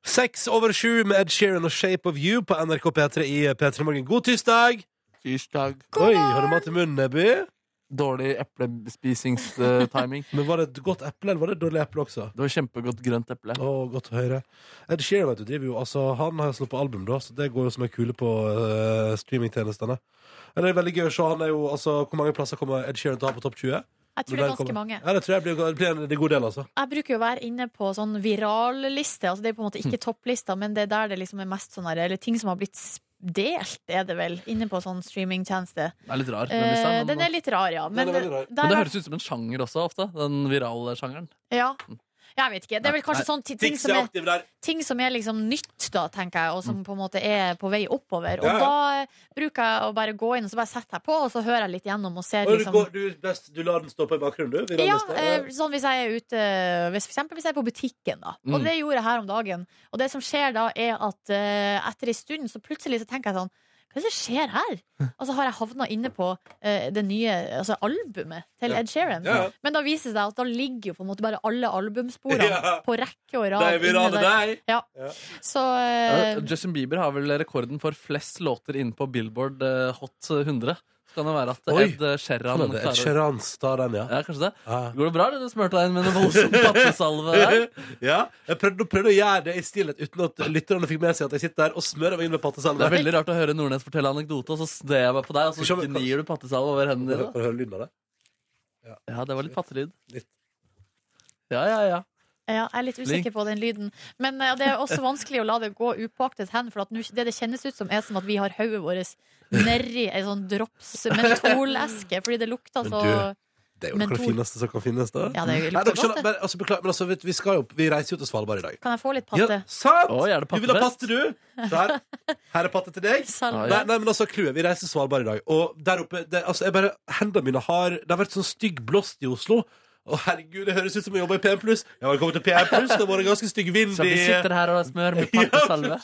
Speaker 2: Seks over sju med Ed Sheeran og Shape of You på NRK P3 i P3 Morgen. God tirsdag!
Speaker 4: Tirsdag.
Speaker 2: Oi, har du mat i munnen, Nebby?
Speaker 4: Dårlig eplespisings-timing.
Speaker 2: Men var det et godt eple, eller var det et dårlig eple også?
Speaker 4: Det var kjempegodt grønt eple.
Speaker 2: Å, godt å høre. Ed Sheeran vet du, driver jo, altså, han har sluppet album, da, så det går jo som en kule på eh, streamingtjenestene. Men det er veldig gøy å se. Han er jo, altså, hvor mange plasser kommer Ed Sheeran til å ha på topp 20?
Speaker 3: Jeg tror
Speaker 2: Når
Speaker 3: det er
Speaker 2: den kommer?
Speaker 3: ganske mange.
Speaker 2: Ja, det tror jeg blir, det blir en, det er en god del, altså.
Speaker 3: Jeg bruker jo å være inne på
Speaker 4: Hm.
Speaker 3: sånn viralliste. Altså det er på en måte ikke topplista, men det er der det liksom er mest sånn her, eller ting som har blitt delt, er det vel, inne på sånn streamingtjeneste.
Speaker 4: Det er litt rar. Den,
Speaker 3: Eh,
Speaker 4: lista, men,
Speaker 3: den er litt rar, ja. Men,
Speaker 2: Den er veldig rar.
Speaker 3: der
Speaker 4: men det
Speaker 3: har-
Speaker 4: høres ut som en sjanger også, ofte. Den virale sjangeren.
Speaker 3: Ja. Jeg vet ikke. Det er vel kanskje
Speaker 4: Hm. Nei.
Speaker 3: sånn ti- ting
Speaker 2: Tix
Speaker 3: som
Speaker 2: er
Speaker 3: er
Speaker 2: aktiv der.
Speaker 3: ting som er liksom nytt, da, tenker jeg, og
Speaker 4: Hm.
Speaker 3: som på en måte er på vei oppover. Og
Speaker 2: Ja, ja.
Speaker 3: da eh, bruker jeg å bare gå inn og så bare sette jeg på, og så hører jeg litt gjennom og ser
Speaker 2: Og du,
Speaker 3: liksom
Speaker 2: går, du, best, du lar den stå på i bakgrunnen, du? virale
Speaker 3: ja,
Speaker 2: sted.
Speaker 3: eh, sånn hvis jeg er ute hvis, For eksempel hvis jeg er på butikken, da. Og
Speaker 4: Mm.
Speaker 3: det gjorde jeg her om dagen. Og det som skjer da, er at eh, etter ei stund så plutselig så tenker jeg sånn Hva er det som skjer her? Og så har jeg havna inne på eh, det nye altså albumet til
Speaker 2: Ja.
Speaker 3: Ed Sheeran.
Speaker 2: Ja, ja.
Speaker 3: Men da viser det seg at da ligger jo på en måte bare alle albumsporene
Speaker 2: Ja.
Speaker 3: på rekke og
Speaker 2: De
Speaker 3: rad. inne
Speaker 2: virale
Speaker 3: der.
Speaker 2: deg!
Speaker 3: Så eh,
Speaker 4: Ja, Justin Bieber har vel rekorden for flest låter inne på Billboard eh, Hot 100. Så kan det være at
Speaker 2: Oi.
Speaker 4: Ed Sheeran
Speaker 2: Sånn er det. Et
Speaker 4: klarer
Speaker 2: Sherans tar den, ja.
Speaker 4: ja, kanskje det.
Speaker 2: Ja.
Speaker 4: Går det bra, eller? Du smørte deg inn med en voldsom pattesalve der.
Speaker 2: ja. Jeg prøvde, prøvde å gjøre det i stillhet uten at lytterne fikk med seg at jeg sitter der og smører meg inn med
Speaker 4: Det
Speaker 2: pattesalve.
Speaker 4: er veldig rart å høre Nordnes fortelle anekdote, og så sned jeg meg på deg, og så
Speaker 2: Skal vi se om-
Speaker 4: gnir du pattesalve over hendene
Speaker 2: Kan
Speaker 4: dine.
Speaker 2: du høre lyden av det?
Speaker 4: Ja, det var litt pattelyd.
Speaker 2: Litt.
Speaker 4: Ja, ja, ja.
Speaker 3: ja, jeg er litt usikker på den lyden. Men eh, det er også vanskelig å la det gå upåaktet hen, for at nå- det det kjennes ut som, er som at vi har hodet vårt nedi ei sånn drops mentoleske, fordi det lukter
Speaker 2: Men
Speaker 3: så
Speaker 2: du- Det er jo noe av det
Speaker 3: Mentor.
Speaker 2: fineste som kan finnes. da
Speaker 3: Ja, det
Speaker 2: Nei,
Speaker 3: lukter
Speaker 2: dere
Speaker 3: godt,
Speaker 2: skjønner,
Speaker 3: det.
Speaker 2: men, altså, Beklager, men altså, vet, du, vi, skal jo, vi reiser jo til Svalbard i dag.
Speaker 3: Kan jeg få litt patte?
Speaker 2: Ja, sant!
Speaker 4: Oi, er det
Speaker 2: du vil ha
Speaker 4: pattefest?
Speaker 2: patte, du? Der. Her er patte til deg.
Speaker 3: Salve.
Speaker 2: Nei, nei, men altså, clouet. Vi reiser til Svalbard i dag. Og der oppe det, altså, jeg bare, Hendene mine har Det har vært sånn stygg blåst i Oslo. Å, herregud, det høres ut som jeg jobber i PM+. Ja, velkommen til PM+. Det har vært en ganske stygg vind
Speaker 4: Så vi sitter her og smør med pattesalve.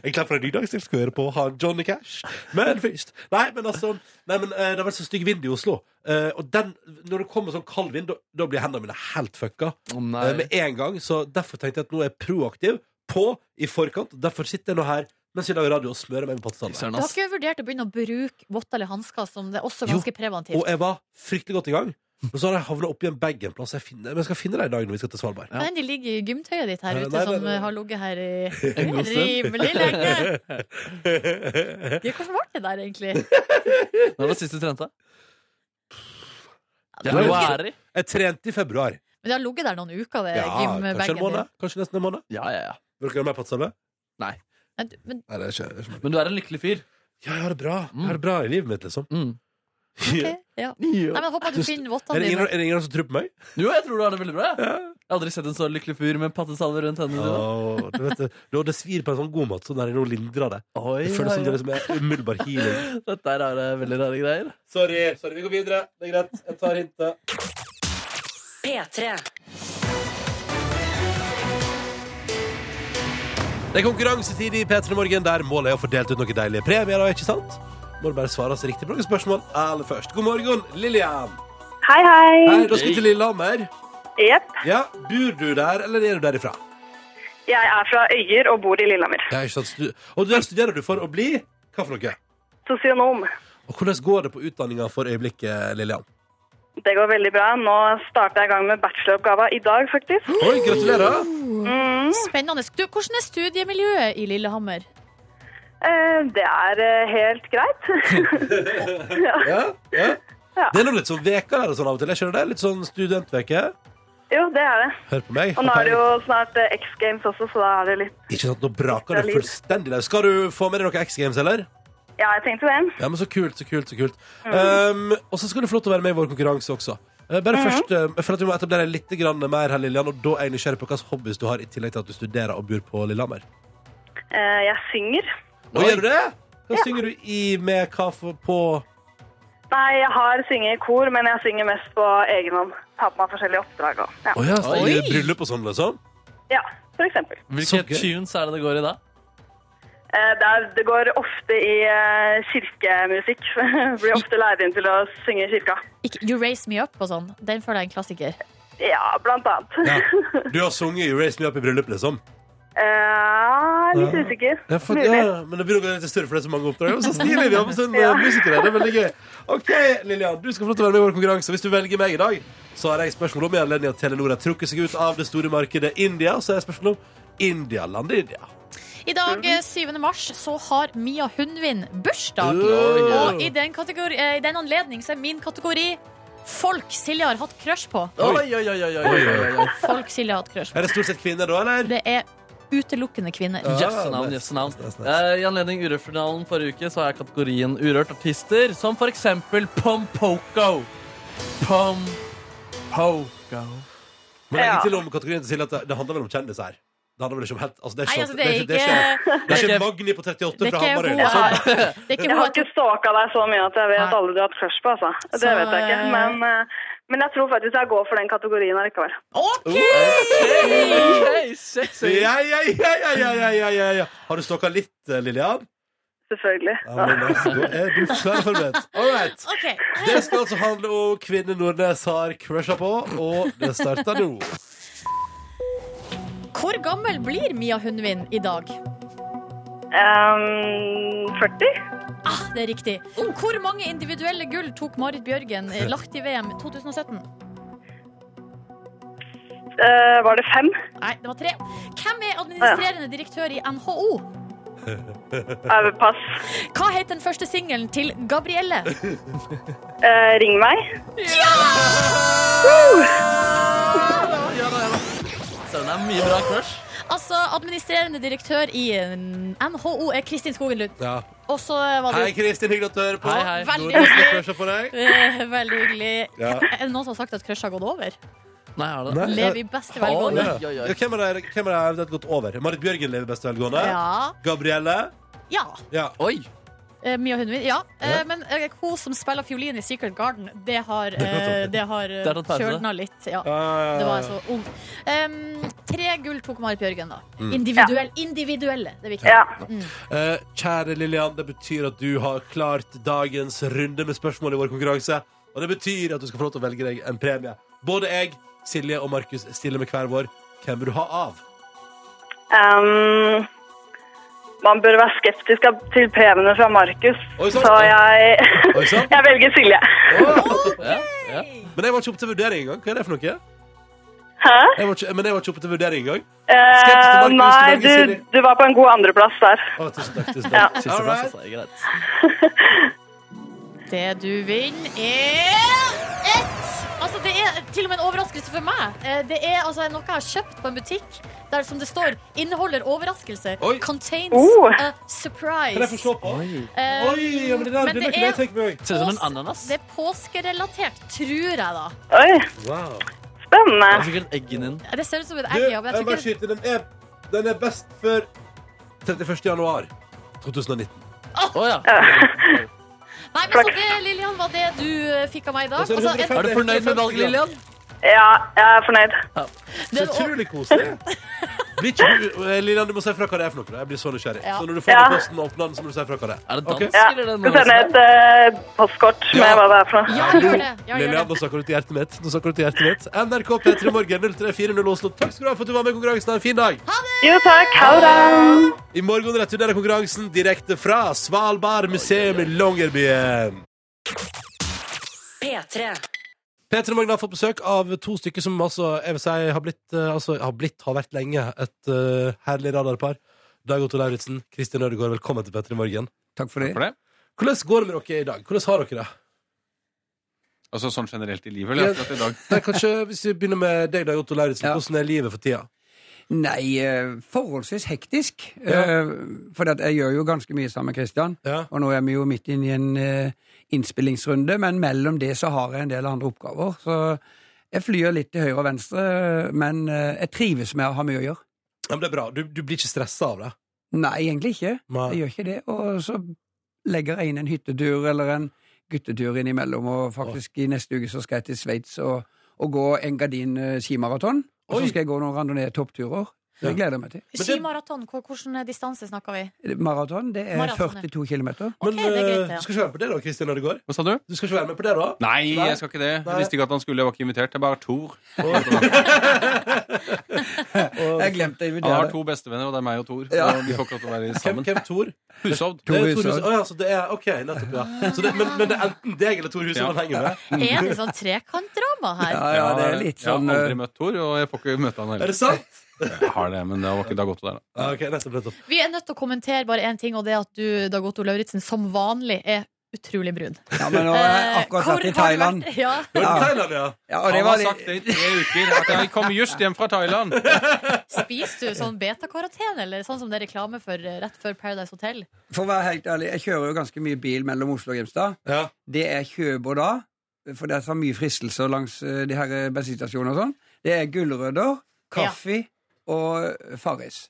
Speaker 2: En klapp fra Nydags, jeg skal høre på han Johnny Cash. Men først Nei, men altså nei, men, eh, Det har vært så stygg vind i Oslo. Eh, og den, når det kommer sånn kald vind, da- da blir hendene mine helt fucka.
Speaker 4: Å
Speaker 2: Eh,
Speaker 4: nei.
Speaker 2: med en gang. Så derfor tenkte jeg at nå er jeg proaktiv på i forkant. og Derfor sitter jeg nå her mens vi lager radio og smører meg med pattesalve.
Speaker 4: Søren,
Speaker 3: Du har
Speaker 4: ass.
Speaker 3: ikke vurdert å begynne å bruke votter eller hansker, som det er også
Speaker 2: Jo.
Speaker 3: ganske
Speaker 2: Og
Speaker 3: preventivt?
Speaker 2: jeg var fryktelig godt i gang. Men så har jeg havna oppi en bag en plass. Jeg, finner, men jeg skal finne det i dag når vi skal til Svalbard.
Speaker 4: Ja.
Speaker 3: Men de ligger i gymtøyet ditt her
Speaker 2: Nei,
Speaker 3: ute,
Speaker 2: nei, nei,
Speaker 3: som
Speaker 2: nei.
Speaker 3: eh, har ligget her i
Speaker 4: En god stund.
Speaker 3: rimelig lenge. Ja, Hvordan ble det der, egentlig?
Speaker 4: Når var det sist du trente?
Speaker 3: det
Speaker 2: var-
Speaker 4: Januari?
Speaker 2: Jeg trente i februar.
Speaker 3: Men det har ligget der noen uker, det
Speaker 2: Ja, kanskje en
Speaker 3: gymbagen din.
Speaker 2: måned. Kanskje nesten en måned.
Speaker 4: Ja, ja, ja.
Speaker 2: Vil dere ha mer pattesalve?
Speaker 3: Men, men
Speaker 2: Nei, det er ikke, det er ikke
Speaker 4: Men du er en lykkelig fyr.
Speaker 2: Ja, jeg har det bra. Jeg
Speaker 4: Mm.
Speaker 2: har det bra i livet mitt, liksom.
Speaker 4: Mm.
Speaker 3: ok, ja. Nei, men jeg håper at du finner
Speaker 2: Er
Speaker 3: vottene
Speaker 2: det, ingen,
Speaker 3: dine.
Speaker 2: er det ingen som tror på meg?
Speaker 4: Jo, jeg tror du har det veldig bra. jeg. Jeg har aldri sett en så lykkelig fyr med pattesalve rundt hendene dine.
Speaker 2: Åh, du vet, det- du, det svir på en sånn god måte, sånn der noe lindrer det.
Speaker 4: Oi,
Speaker 2: Det
Speaker 4: ja,
Speaker 2: føles som det
Speaker 4: ja.
Speaker 2: liksom er umiddelbar healing.
Speaker 4: Dette er rare, veldig rare greier.
Speaker 2: Sorry, sorry, vi går videre. Det er greit. Jeg tar hintet.
Speaker 1: P3.
Speaker 2: Det er konkurransetid i P3 Morgen, der målet er å få delt ut noen deilige premier, da, ikke sant? Må du bare svare oss riktig på noen spørsmål aller først. God morgen, Lillian.
Speaker 6: Hei, hei.
Speaker 2: Hei, da skal vi til Lillehammer.
Speaker 6: Jepp.
Speaker 2: Ja, bor du der, eller er du derifra?
Speaker 6: Jeg er fra Øyer og bor i Lillehammer.
Speaker 2: Ja, ikke sant. Stu- Og der studerer du for å bli hva for noe?
Speaker 6: Sosionom.
Speaker 2: Og hvordan går det på utdanninga for øyeblikket, Lillian?
Speaker 6: Det går veldig bra. Nå starter jeg i gang med bacheloroppgava i dag, faktisk.
Speaker 2: Oi, gratulerer!
Speaker 3: Spennende. Du, hvordan er studiemiljøet i Lillehammer?
Speaker 6: Eh, Det er eh, helt greit.
Speaker 2: Ja, ja.
Speaker 6: Ja.
Speaker 2: Det er noe litt sånn veka der og sånn av og til. Jeg skjønner det. Litt sånn studentveke.
Speaker 6: Jo, det er det.
Speaker 2: Hør på meg.
Speaker 6: Og nå er det jo snart eh, X Games også, så da er det litt
Speaker 2: Ikke sant, nå braker det fullstendig løs. Skal du få med deg noe X Games, eller?
Speaker 6: Ja, jeg tenkte det.
Speaker 2: Ja, men så kult, så kult, så kult.
Speaker 6: Mm.
Speaker 2: Um, og så skal du få lov til å være med i vår konkurranse også. Eh, Bare
Speaker 6: Mm.
Speaker 2: først, eh, for at vi må etablere litt grann mer her, Lillian, og da er jeg nysgjerrig på hvilke hobbyer du har, i tillegg til at du studerer og bor på Lillehammer.
Speaker 6: Eh, Jeg synger.
Speaker 2: Og gjør du det? Hva synger du i med hva for, på
Speaker 6: Nei, jeg har synget i kor, men jeg synger mest på egen hånd. Tar på meg forskjellige oppdrag og ja.
Speaker 2: Å ja, så i
Speaker 4: Oi.
Speaker 2: bryllup og sånn, liksom?
Speaker 6: ja, for eksempel.
Speaker 4: Hvilke
Speaker 2: Så gøy.
Speaker 4: tunes er det det går i da?
Speaker 6: Eh, Det, er, det går ofte i eh, kirkemusikk. Blir ofte lært inn til å synge i kirka.
Speaker 3: Ikke, you Raise Me Up og sånn. Den føler jeg er en klassiker.
Speaker 6: Ja, blant annet.
Speaker 2: Ja. Du har sunget You Raise Me Up i bryllup, liksom?
Speaker 6: Eh, litt usikker.
Speaker 2: Ja, for,
Speaker 6: Mulig.
Speaker 2: ja, men det blir jo litt større for det er så mange oppdrag. Og Så stilig vi har med sånn
Speaker 6: Ja.
Speaker 2: eh, musikere. Det er veldig gøy. OK, Lillian, du skal få lov til å være med i vår konkurranse. Hvis du velger meg i dag, så har jeg spørsmål om i anledning at Telenor har trukket seg ut av det store markedet India. Så har jeg spørsmål om India-landet India.
Speaker 3: I dag,
Speaker 2: Mm.
Speaker 3: eh, 7. mars, så har Mia Hundvin bursdag.
Speaker 2: Åh.
Speaker 3: Og i den, kategori, eh, i den anledning så er min kategori folk Silje har hatt crush på.
Speaker 4: Oi, oi, oi, oi, oi, oi, oi, oi.
Speaker 3: Folk Silje har hatt crush på.
Speaker 2: Er det stort sett kvinner da, eller?
Speaker 3: Det er utelukkende kvinner.
Speaker 2: Ja.
Speaker 4: Yes, noun,
Speaker 2: nice,
Speaker 4: yes, noun.
Speaker 2: nice, nice,
Speaker 4: Eh, I anledning Urørt-finalen forrige uke så har jeg kategorien urørt artister, som for eksempel Pompoko. Pompoko.
Speaker 2: Men legg
Speaker 6: Ja.
Speaker 2: til om kategorien til Silje at det, det handler vel om kjendiser her. Det handler vel ikke om helt altså, det, er
Speaker 3: Nei,
Speaker 2: ikke, det,
Speaker 3: altså, det er
Speaker 2: er ikke,
Speaker 3: ikke
Speaker 2: det er ikke
Speaker 4: ikke-
Speaker 2: Magni på 38
Speaker 3: det er
Speaker 2: fra
Speaker 3: ikke
Speaker 2: Hamarøy.
Speaker 3: hun
Speaker 2: liksom.
Speaker 3: her. Det er ikke
Speaker 6: Jeg
Speaker 3: hun
Speaker 6: har
Speaker 3: jeg
Speaker 6: ikke stalka deg så mye at jeg vet
Speaker 3: Nei.
Speaker 6: alle du har hatt crush på, altså. Det
Speaker 3: Så,
Speaker 6: vet jeg ikke.
Speaker 3: eh,
Speaker 6: Men, eh, men jeg tror faktisk jeg går for den kategorien allikevel.
Speaker 3: tok- OK!
Speaker 4: Hey, sexy.
Speaker 2: Eh, Ja, ja, ja, ja, ja, ja, ja, ja, ja. Har du stalka litt, eh, Lillian?
Speaker 6: Selvfølgelig.
Speaker 2: Ja, men, altså, da er du forberedt. All right.
Speaker 3: Ok.
Speaker 2: Det skal altså handle om kvinner Nordnes har crusha på, og det starter nå.
Speaker 3: Hvor gammel blir Mia Hundvin i dag?
Speaker 6: Ehm, 40?
Speaker 3: Ah, det er riktig. Hvor mange individuelle gull tok Marit Bjørgen eh, lagt i VM 2017?
Speaker 6: Eh, var det fem?
Speaker 3: Nei, det var tre. Hvem er administrerende direktør i NHO?
Speaker 6: Jeg vil Eh, pass.
Speaker 3: Hva het den første singelen til Gabrielle?
Speaker 6: Eh, ring meg.
Speaker 4: Søren, det er mye bra crush.
Speaker 3: Altså, administrerende direktør i eh, NHO er Kristin Skogenlund.
Speaker 2: Ja.
Speaker 3: Og så var
Speaker 2: Hei,
Speaker 3: det jo
Speaker 2: Kristin, hyggelig at du hører på.
Speaker 4: Hei, hei.
Speaker 3: Veldig
Speaker 2: Nordnes har crusha på deg.
Speaker 3: eh, Veldig hyggelig.
Speaker 2: Ja.
Speaker 3: Er det noen som har sagt at crushet har gått over?
Speaker 4: Nei, har det
Speaker 2: Nei,
Speaker 4: det?
Speaker 2: ja.
Speaker 3: Lev i beste velgående.
Speaker 4: Oi, oi, oi.
Speaker 2: Ja, hvem er det hvem er det eventuelt gått over? Marit Bjørgen lever best velgående.
Speaker 3: Ja.
Speaker 2: Gabrielle.
Speaker 3: ja.
Speaker 2: Ja.
Speaker 4: Oi.
Speaker 3: Eh, Mia Hundvin, ja. Eh,
Speaker 2: Ja.
Speaker 3: Men eh, hun som spiller fiolin i Secret Garden, det har, eh, det har eh,
Speaker 4: Det har tatt pause.
Speaker 3: kjølna litt. Ja.
Speaker 2: Eh,
Speaker 3: Det var jeg så ung. Em, tre gull tok Marit Bjørgen, da.
Speaker 2: Mm.
Speaker 3: Individuell, Individuelle, det er viktig.
Speaker 6: Ja.
Speaker 2: Eh, kjære Lillian, det betyr at du har klart dagens runde med spørsmål i vår konkurranse. Og det betyr at du skal få lov til å velge deg en premie. Både jeg, Silje og Markus stiller med hver vår. Hvem vil du ha av?
Speaker 6: Ehm, man bør være skeptisk av- til premiene fra Markus,
Speaker 2: Oi, sant.
Speaker 6: så jeg,
Speaker 2: Oi, sånn. sant.
Speaker 6: jeg velger Silje.
Speaker 4: Ja, ja.
Speaker 2: Men jeg var ikke oppe til vurdering engang. Hva er det for noe?
Speaker 6: Hæ?
Speaker 2: Jeg var ikke, men jeg var ikke oppe til vurdering engang. Skeptisk til Markus,
Speaker 6: Eh, nei,
Speaker 2: du velger
Speaker 6: du,
Speaker 2: Silje.
Speaker 6: du var på en god andreplass der.
Speaker 2: Å, tusen takk. tusen
Speaker 6: Ja.
Speaker 2: takk.
Speaker 4: Siste
Speaker 2: All right.
Speaker 4: plass, altså. Det er greit.
Speaker 3: Det du vinner, er ett! Altså, det er til og med en overraskelse for meg. Eh, Det er altså noe jeg har kjøpt på en butikk. Der som det står 'inneholder overraskelse'.
Speaker 2: Oi.
Speaker 3: Contains
Speaker 6: Oh.
Speaker 3: a
Speaker 2: Kan jeg få
Speaker 3: surprise.
Speaker 2: se på?
Speaker 3: Eh,
Speaker 2: Oi, ja, men det der begynner
Speaker 3: Men det
Speaker 2: ikke
Speaker 3: er-
Speaker 2: jeg tenke meg òg.
Speaker 4: Ser ut som en ananas.
Speaker 3: Det er påskerelatert, tror jeg, da.
Speaker 6: Oi,
Speaker 2: Wow.
Speaker 4: Det er
Speaker 6: spennende.
Speaker 4: sikkert eggen din.
Speaker 3: Det ser ut som et
Speaker 2: Du,
Speaker 3: egg, ja, men
Speaker 2: jeg bare
Speaker 3: jeg tror ikke
Speaker 2: skyter. Den er, den er best før 31. januar 2019.
Speaker 4: Å ja.
Speaker 3: Nei, men så det, Lillian, var det du eh, fikk av meg i dag.
Speaker 2: Og så er det
Speaker 3: Altså, en,
Speaker 4: Er du fornøyd med valget, Lillian?
Speaker 6: Ja, jeg er fornøyd.
Speaker 2: Så
Speaker 3: det, og,
Speaker 2: utrolig koselig. Blir ikke du, eh, Lillian, du må si fra hva det er for noe. Jeg blir så nysgjerrig.
Speaker 3: Ja.
Speaker 2: Så når du får
Speaker 6: Ja.
Speaker 2: den posten og åpner den, så må du si fra hva det er.
Speaker 4: Er det dans,
Speaker 2: Ok.
Speaker 6: Ja.
Speaker 4: eller er det
Speaker 6: Skal sende
Speaker 4: noe?
Speaker 6: et eh, postkort med
Speaker 2: Ja.
Speaker 6: hva det er for noe.
Speaker 3: ja, gjør det. Ja, gjør
Speaker 2: Lillian,
Speaker 3: det.
Speaker 2: nå snakker du til hjertet mitt. Nå snakker du til hjertet mitt. NRK P3 Morgen 0340 Oslo. Takk skal du ha for at du var med i konkurransen. Ha en fin dag.
Speaker 6: Jo takk, ha det!
Speaker 2: I morgen returnerer konkurransen direkte fra Svalbard museum i Longyearbyen.
Speaker 1: P3.
Speaker 2: Peter og Morgen har fått besøk av to stykker som altså, jeg vil si, har blitt, eh, altså, har blitt, har vært lenge, et eh, herlig radarpar. Dag Otto Lauritzen, Kristin Ødegaard, velkommen til Peter i Morgen.
Speaker 7: Takk for det.
Speaker 8: for det.
Speaker 2: Hvordan går det med dere i dag? Hvordan har dere det?
Speaker 8: Altså sånn generelt i livet, eller
Speaker 2: Ja.
Speaker 8: akkurat i dag?
Speaker 2: Nei, kanskje hvis vi begynner med deg, Dag Otto Lauritzen.
Speaker 7: Ja.
Speaker 2: Hvordan er livet for tida?
Speaker 7: Nei, eh, forholdsvis hektisk. eh,
Speaker 2: Ja.
Speaker 7: For jeg gjør jo ganske mye sammen med Kristian.
Speaker 2: Ja.
Speaker 7: Og nå er vi jo midt inne i en eh, innspillingsrunde, men mellom det så har jeg en del andre oppgaver. Så jeg flyr litt til høyre og venstre, men eh, jeg trives med å ha mye å gjøre.
Speaker 2: Ja, men det er bra. Du, du blir ikke stressa av det?
Speaker 7: Nei, egentlig ikke.
Speaker 2: Nei.
Speaker 7: Jeg gjør ikke det. Og så legger jeg inn en hyttetur eller en guttetur innimellom, og faktisk i neste uke så skal jeg til Sveits og, og gå en gardin eh, skimaraton. Og
Speaker 2: Oi.
Speaker 7: så skal jeg gå noen randonee-toppturer. Så det
Speaker 2: Ja.
Speaker 7: gleder jeg meg til.
Speaker 2: det-
Speaker 3: Skimaraton, hvor- hvordan distanse snakker vi?
Speaker 7: Maraton, det er
Speaker 3: Maraton, ja.
Speaker 7: 42 km.
Speaker 3: Ok, det er
Speaker 2: eh,
Speaker 3: greit, det, ja.
Speaker 2: Du skal ikke være med på det da, Kristin Ødegaard?
Speaker 8: Hva sa du?
Speaker 2: Du skal ikke være med på det da?
Speaker 8: Nei,
Speaker 2: Nei.
Speaker 8: jeg skal ikke det.
Speaker 2: Nei.
Speaker 8: Jeg visste ikke at han skulle, jeg var ikke invitert. Jeg bare har Tor.
Speaker 7: Jeg glemte å
Speaker 8: Han
Speaker 7: invitere
Speaker 8: har
Speaker 7: deg.
Speaker 8: to bestevenner, og det er meg og Tor.
Speaker 7: Ja.
Speaker 8: Og vi får ikke lov til å være
Speaker 2: Hvem,
Speaker 8: sammen.
Speaker 2: hvem Tor?
Speaker 8: Hushovd.
Speaker 7: Tor
Speaker 2: Det er
Speaker 7: Hushovd.
Speaker 2: Å ja, så det er OK, nettopp, ja. Så det, men, men det er enten deg eller Tor Huset
Speaker 8: Ja.
Speaker 2: man henger med?
Speaker 3: Er det sånn trekantdrama her?
Speaker 7: Ja, ja, det er litt sånn
Speaker 8: Jeg har
Speaker 7: eh,
Speaker 8: aldri møtt Tor, og jeg får ikke møte han
Speaker 2: Er
Speaker 8: heller.
Speaker 2: det sant?
Speaker 8: Jeg har det, men det var ikke da godt å være.
Speaker 2: Ja, ok, nettopp, nettopp.
Speaker 3: Vi er nødt til å kommentere bare én ting, og det er at du, Dag Otto Lauritzen, som vanlig er utrolig brun.
Speaker 7: Ja, men nå har jeg
Speaker 3: Eh,
Speaker 7: akkurat
Speaker 3: hvor
Speaker 7: vært
Speaker 3: har
Speaker 7: i
Speaker 3: du
Speaker 7: Thailand.
Speaker 3: vært? Ja.
Speaker 2: Du er i
Speaker 7: Ja.
Speaker 2: Thailand, ja?
Speaker 7: Ja, og det var
Speaker 8: Han har
Speaker 7: litt-
Speaker 8: sagt det i tre uker. At jeg kom just hjem fra Thailand.
Speaker 3: Spiser du sånn betakaroten, eller sånn som det er reklame for eh, rett før Paradise Hotel?
Speaker 7: For å være helt ærlig, jeg kjører jo ganske mye bil mellom Oslo og Grimstad.
Speaker 2: ja.
Speaker 7: Det jeg kjøper da, for det er så mye fristelser langs eh, de her eh, bensinstasjonene og sånn, det er gulrøtter, kaffe og eh, Farris.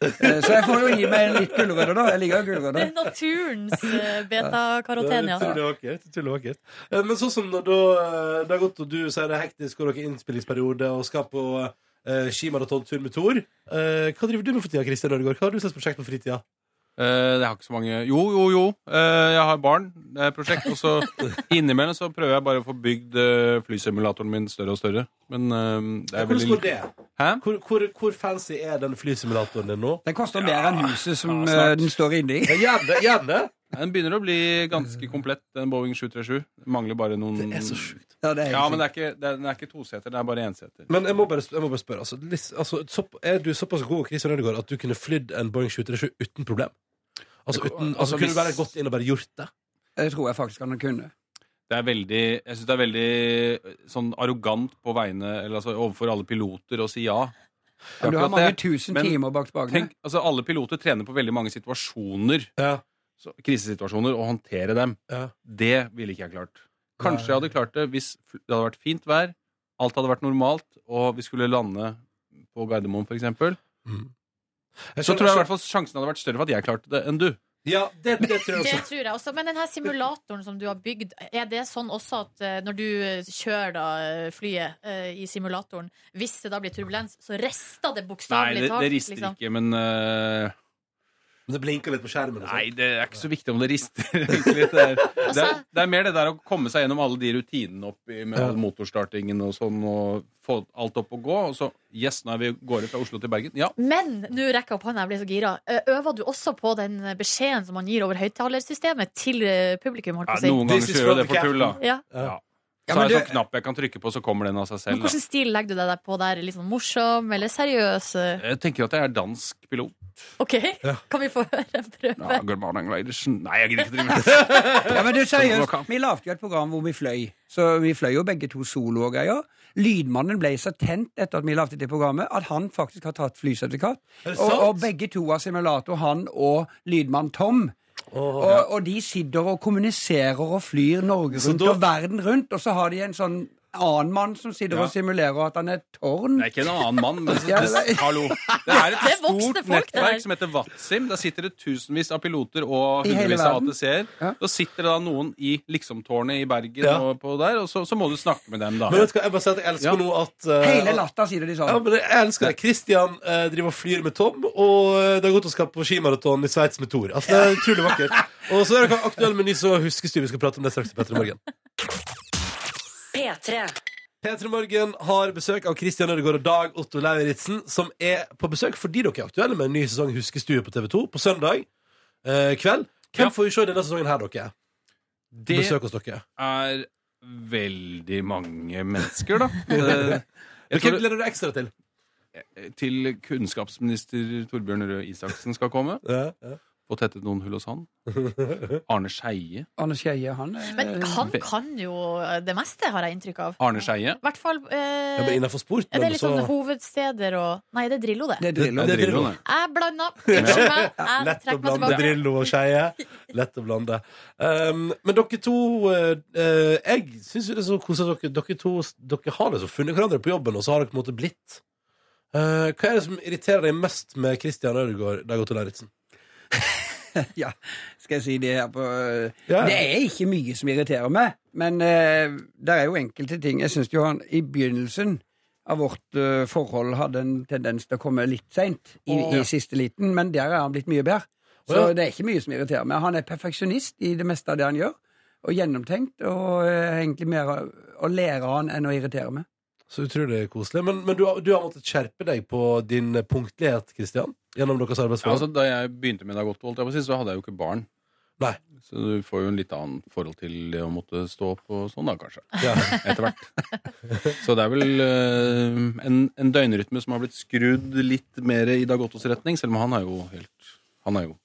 Speaker 7: Eh, Så jeg får jo gi meg litt gulrøtter, da. Jeg liker
Speaker 3: Det
Speaker 7: jo
Speaker 3: er
Speaker 7: gulrøtter.
Speaker 3: naturens eh, betakaroten,
Speaker 2: Det
Speaker 3: ja.
Speaker 2: er utrolig vakkert. utrolig vakkert. Eh, Men sånn som når da, eh, det har gått, og du sier det er hektisk, og dere er innspillingsperiode, og skal på eh, skimaratontur med Tor. Eh, hva driver du med for tida, Kristian Ødegaard? Hva har du sett på prosjekt på fritida?
Speaker 8: Eh, jeg har ikke så mange Jo, jo, jo. Eh, jeg har barn. Det er et prosjekt. Og så innimellom så prøver jeg bare å få bygd eh, flysimulatoren min større og større. Men eh, det er
Speaker 2: Hvordan
Speaker 8: veldig
Speaker 2: går det?
Speaker 8: Hæ?
Speaker 2: Hvor, hvor, hvor fancy er den flysimulatoren din nå?
Speaker 7: Den koster mer enn huset som
Speaker 8: Ja, snart.
Speaker 7: eh, den står inne i.
Speaker 2: Ja, Gjerne! gjerne.
Speaker 8: Nei, Den begynner å bli ganske komplett, den Boeing 737. Mangler bare noen
Speaker 2: Det er så sjukt.
Speaker 7: Ja, det er
Speaker 8: Ja,
Speaker 7: helt sykt.
Speaker 8: men det er ikke, det er, den er ikke toseter, det er bare enseter.
Speaker 2: Men jeg må bare, sp- jeg må bare spørre. Altså, Lis- altså, sopp- er du såpass god Christian Ødegaard, at du kunne flydd en Boeing 737 uten problem? Altså,
Speaker 8: Jeg-
Speaker 2: uten, altså
Speaker 8: altså,
Speaker 2: Kunne du bare
Speaker 8: hvis-
Speaker 2: gått inn og bare gjort det?
Speaker 7: Det tror jeg faktisk han kunne.
Speaker 8: Det er veldig, jeg syns det er veldig eh, sånn arrogant på vegne eller altså overfor alle piloter å si ja. Det
Speaker 7: Men
Speaker 8: er
Speaker 7: du har
Speaker 8: akkurat
Speaker 7: mange
Speaker 8: det.
Speaker 7: tusen
Speaker 8: Men
Speaker 7: timer bak spakene.
Speaker 8: Tenk, altså Alle piloter trener på veldig mange situasjoner,
Speaker 2: Ja.
Speaker 8: så, krisesituasjoner, og håndtere dem. Det ville ikke jeg klart. Kanskje jeg hadde klart det hvis fl- det hadde vært fint vær, alt hadde vært normalt, og vi skulle lande på Gardermoen, for eksempel Så tror jeg i hvert fall sjansen hadde vært større for at jeg klarte det, enn du.
Speaker 2: Ja, det, det tror jeg
Speaker 3: Det
Speaker 2: også.
Speaker 3: tror jeg også. Men den her simulatoren som du har bygd, er det sånn også at eh, når du eh, kjører da eh, flyet eh, i simulatoren, hvis det da blir turbulens, så rister det
Speaker 8: Nei, det,
Speaker 3: bokstavelig liksom?
Speaker 8: det rister
Speaker 2: liksom.
Speaker 8: ikke, men eh,
Speaker 2: Men Det blinker litt på skjermen. og sånn.
Speaker 8: Nei, det er ikke så viktig om det rister. egentlig. Det er,
Speaker 2: Altså-
Speaker 8: det, er, det er mer det der å komme seg gjennom alle de rutinene oppi med all motorstartingen og sånn, og få alt opp og gå, og så Yes, nå er vi gårde fra Oslo til Bergen. Ja.
Speaker 3: Men nå rekker jeg opp hånda, jeg blir så gira. Eh, Øver du også på den beskjeden som man gir over høyttalersystemet til eh, publikum? Holdt
Speaker 8: ja
Speaker 3: på å si?
Speaker 8: noen
Speaker 2: This
Speaker 8: ganger
Speaker 2: is
Speaker 8: så gjør
Speaker 2: from
Speaker 8: jeg det
Speaker 2: the
Speaker 8: for tull, da.
Speaker 2: captain.
Speaker 3: Ja.
Speaker 8: Ja.
Speaker 7: Ja,
Speaker 8: Så
Speaker 7: men
Speaker 8: er det
Speaker 7: du-
Speaker 8: sånn knapp jeg kan trykke på, så kommer den av seg
Speaker 3: Men
Speaker 8: selv. Da.
Speaker 3: hvilken stil legger du deg der på der? Litt sånn morsom eller seriøs? Eh,
Speaker 8: Jeg tenker at jeg er dansk pilot.
Speaker 3: OK, kan vi få høre en prøve?
Speaker 8: Ja, good morning, ladies. Nei, jeg gidder ikke drive med det.
Speaker 7: Ja, men du, seriøst,
Speaker 8: Klokka.
Speaker 7: Vi lagde jo et program hvor vi fløy. Så vi fløy jo begge to solo og greier. Lydmannen ble så tent etter at vi lagde det programmet, at han faktisk har tatt flysertifikat.
Speaker 2: Er det
Speaker 7: Og,
Speaker 2: sant?
Speaker 7: og begge to har simulator, han og lydmann Tom. og, og de sitter og kommuniserer og flyr Norge rundt
Speaker 2: da-
Speaker 7: og verden rundt, og så har de en sånn annen mann som sitter
Speaker 8: Ja.
Speaker 7: og simulerer at han er et tårn.
Speaker 8: Det er ikke en annen mann, men
Speaker 7: Ja,
Speaker 8: så,
Speaker 7: det-
Speaker 8: hallo. Det er
Speaker 3: Det
Speaker 8: et
Speaker 3: er voksne folk,
Speaker 8: stort
Speaker 3: det her.
Speaker 8: nettverk som heter Watsim. Der sitter det tusenvis av piloter og
Speaker 7: I hele
Speaker 8: hundrevis av
Speaker 7: verden.
Speaker 8: ATC-er.
Speaker 7: Ja.
Speaker 8: Da sitter det da noen i liksom-tårnet i Bergen
Speaker 2: Ja.
Speaker 8: og på der, og så, så må du snakke med dem, da.
Speaker 2: Men vet du hva, jeg bare sier at jeg elsker
Speaker 8: Ja.
Speaker 2: nå at eh,
Speaker 7: Hele natta sitter de
Speaker 2: Ja,
Speaker 7: sånn.
Speaker 2: men jeg elsker det. Christian eh, driver og flyr med Tom, og eh, det har gått og skal på skimaraton i Sveits med Thor. Altså, det er utrolig vakkert. Og så er det aktuell meny, så huskes du vi skal prate om det straks i Petter i morgen.
Speaker 1: P3.
Speaker 2: P3 Morgen har besøk av Christian Ødegaard og Dag Otto Lauritzen, som er på besøk fordi dere er aktuelle med en ny sesong Huskestue på TV2 på søndag eh, kveld. Hvem
Speaker 8: Ja.
Speaker 2: får vi se i denne sesongen her, dere?
Speaker 8: Det
Speaker 2: Besøk hos dere.
Speaker 8: er veldig mange mennesker, da. Eh,
Speaker 2: Hvem
Speaker 8: Jeg tror
Speaker 2: gleder du deg ekstra til?
Speaker 8: det- til kunnskapsminister Torbjørn Røe Isaksen skal komme.
Speaker 2: Ja, ja.
Speaker 8: Få tettet noen hull hos han. Arne Skeie.
Speaker 7: Arne Skeie, han er
Speaker 3: Men han kan jo det meste, har jeg inntrykk av.
Speaker 8: Arne Skeie.
Speaker 3: I hvert fall eh,
Speaker 2: Ja, men innenfor sport,
Speaker 3: Er det
Speaker 2: men
Speaker 3: litt
Speaker 2: så
Speaker 3: sånn hovedsteder og Nei, det er Drillo, det.
Speaker 7: Det er Drillo.
Speaker 8: Det er
Speaker 2: Drillo.
Speaker 8: Drillo, det.
Speaker 3: Jeg blanda. Unnskyld meg. Jeg
Speaker 2: Lett å
Speaker 3: trekker meg
Speaker 2: blande
Speaker 3: tilbake.
Speaker 2: Drillo og Skeie. Lett å blande. Um, men dere to eh, eh, Jeg syns jo det er så koselig at dere, dere to Dere har liksom funnet hverandre på jobben, og så har dere på en måte blitt. Eh, hva er det som irriterer deg mest med Christian Ødegaard, Dag Otto Lauritzen?
Speaker 7: Ja, skal jeg si det her på
Speaker 2: Ja.
Speaker 7: Det er ikke mye som irriterer meg, men eh, det er jo enkelte ting. Jeg syns jo han i begynnelsen av vårt eh, forhold hadde en tendens til å komme litt seint i, i siste liten, men der er han blitt mye bedre. Så
Speaker 2: Å, ja.
Speaker 7: det er ikke mye som irriterer meg. Han er perfeksjonist i det meste av det han gjør, og gjennomtenkt, og eh, egentlig mer å- å lære av han enn å irritere meg.
Speaker 2: Så utrolig koselig. Men, men du, har- du har måttet skjerpe deg på din punktlighet, Christian? Gjennom deres
Speaker 8: Ja, altså,
Speaker 2: arbeidsforhold?
Speaker 8: da jeg begynte med Dagotto, holdt jeg på å si, så hadde jeg jo ikke barn.
Speaker 2: Nei.
Speaker 8: Så du får jo en litt annen forhold til det å måtte stå opp og sånn, da, kanskje.
Speaker 2: Ja.
Speaker 8: Etter hvert. Så det er vel eh, en, en døgnrytme som har blitt skrudd litt mer i Dagottos retning, selv om han er jo helt Han er jo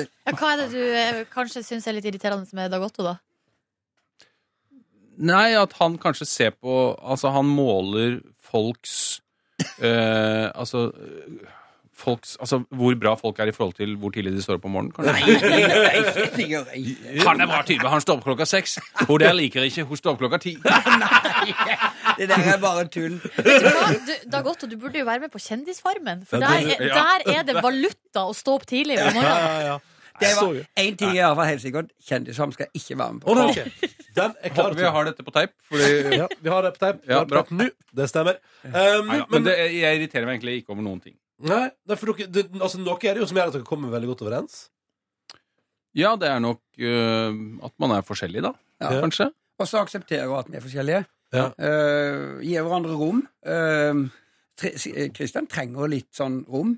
Speaker 3: Ja, hva er det du eh, kanskje syns er litt irriterende med Dag Otto, da?
Speaker 8: Nei, at han kanskje ser på Altså, han måler folks eh, Altså eh, Folks, altså Hvor bra folk er i forhold til hvor tidlig de står opp om morgenen. kanskje? Han er bra type. Han står opp klokka seks. Hun der liker ikke. Hun står opp klokka ti.
Speaker 7: Det der er bare tull.
Speaker 3: Vet du hva? Du, Dag Otto, du burde jo være med på Kjendisfarmen. For
Speaker 2: Ja,
Speaker 3: der,
Speaker 2: det-
Speaker 3: er-
Speaker 8: ja.
Speaker 3: der er det valuta å stå opp tidlig
Speaker 2: Ja,
Speaker 3: om
Speaker 8: altså,
Speaker 3: morgenen.
Speaker 2: ja, ja.
Speaker 7: Det
Speaker 2: Så
Speaker 7: var
Speaker 2: jo.
Speaker 7: én ting jeg var helt sikkert. Kjendisam skal jeg ikke være med
Speaker 2: Å,
Speaker 7: på.
Speaker 2: nei, ok. Den er klar.
Speaker 8: Håper vi har dette på teip. Fordi,
Speaker 2: ja, vi har det på teip. Vi
Speaker 8: Ja,
Speaker 2: har det
Speaker 8: bra.
Speaker 2: på teip nå. Det stemmer. Um,
Speaker 8: nei, ja, men det, jeg irriterer meg egentlig ikke over noen ting.
Speaker 2: nei, nei, for dere, det, altså, noe er det jo som gjør at dere kommer veldig godt overens.
Speaker 8: Ja, det er nok øh, at man er forskjellig, da.
Speaker 7: Ja.
Speaker 8: Kanskje.
Speaker 7: Og så aksepterer vi at vi er forskjellige.
Speaker 2: Ja.
Speaker 7: Eh, gir hverandre rom. Eh, tre- s- eh, Kristian trenger litt sånn rom.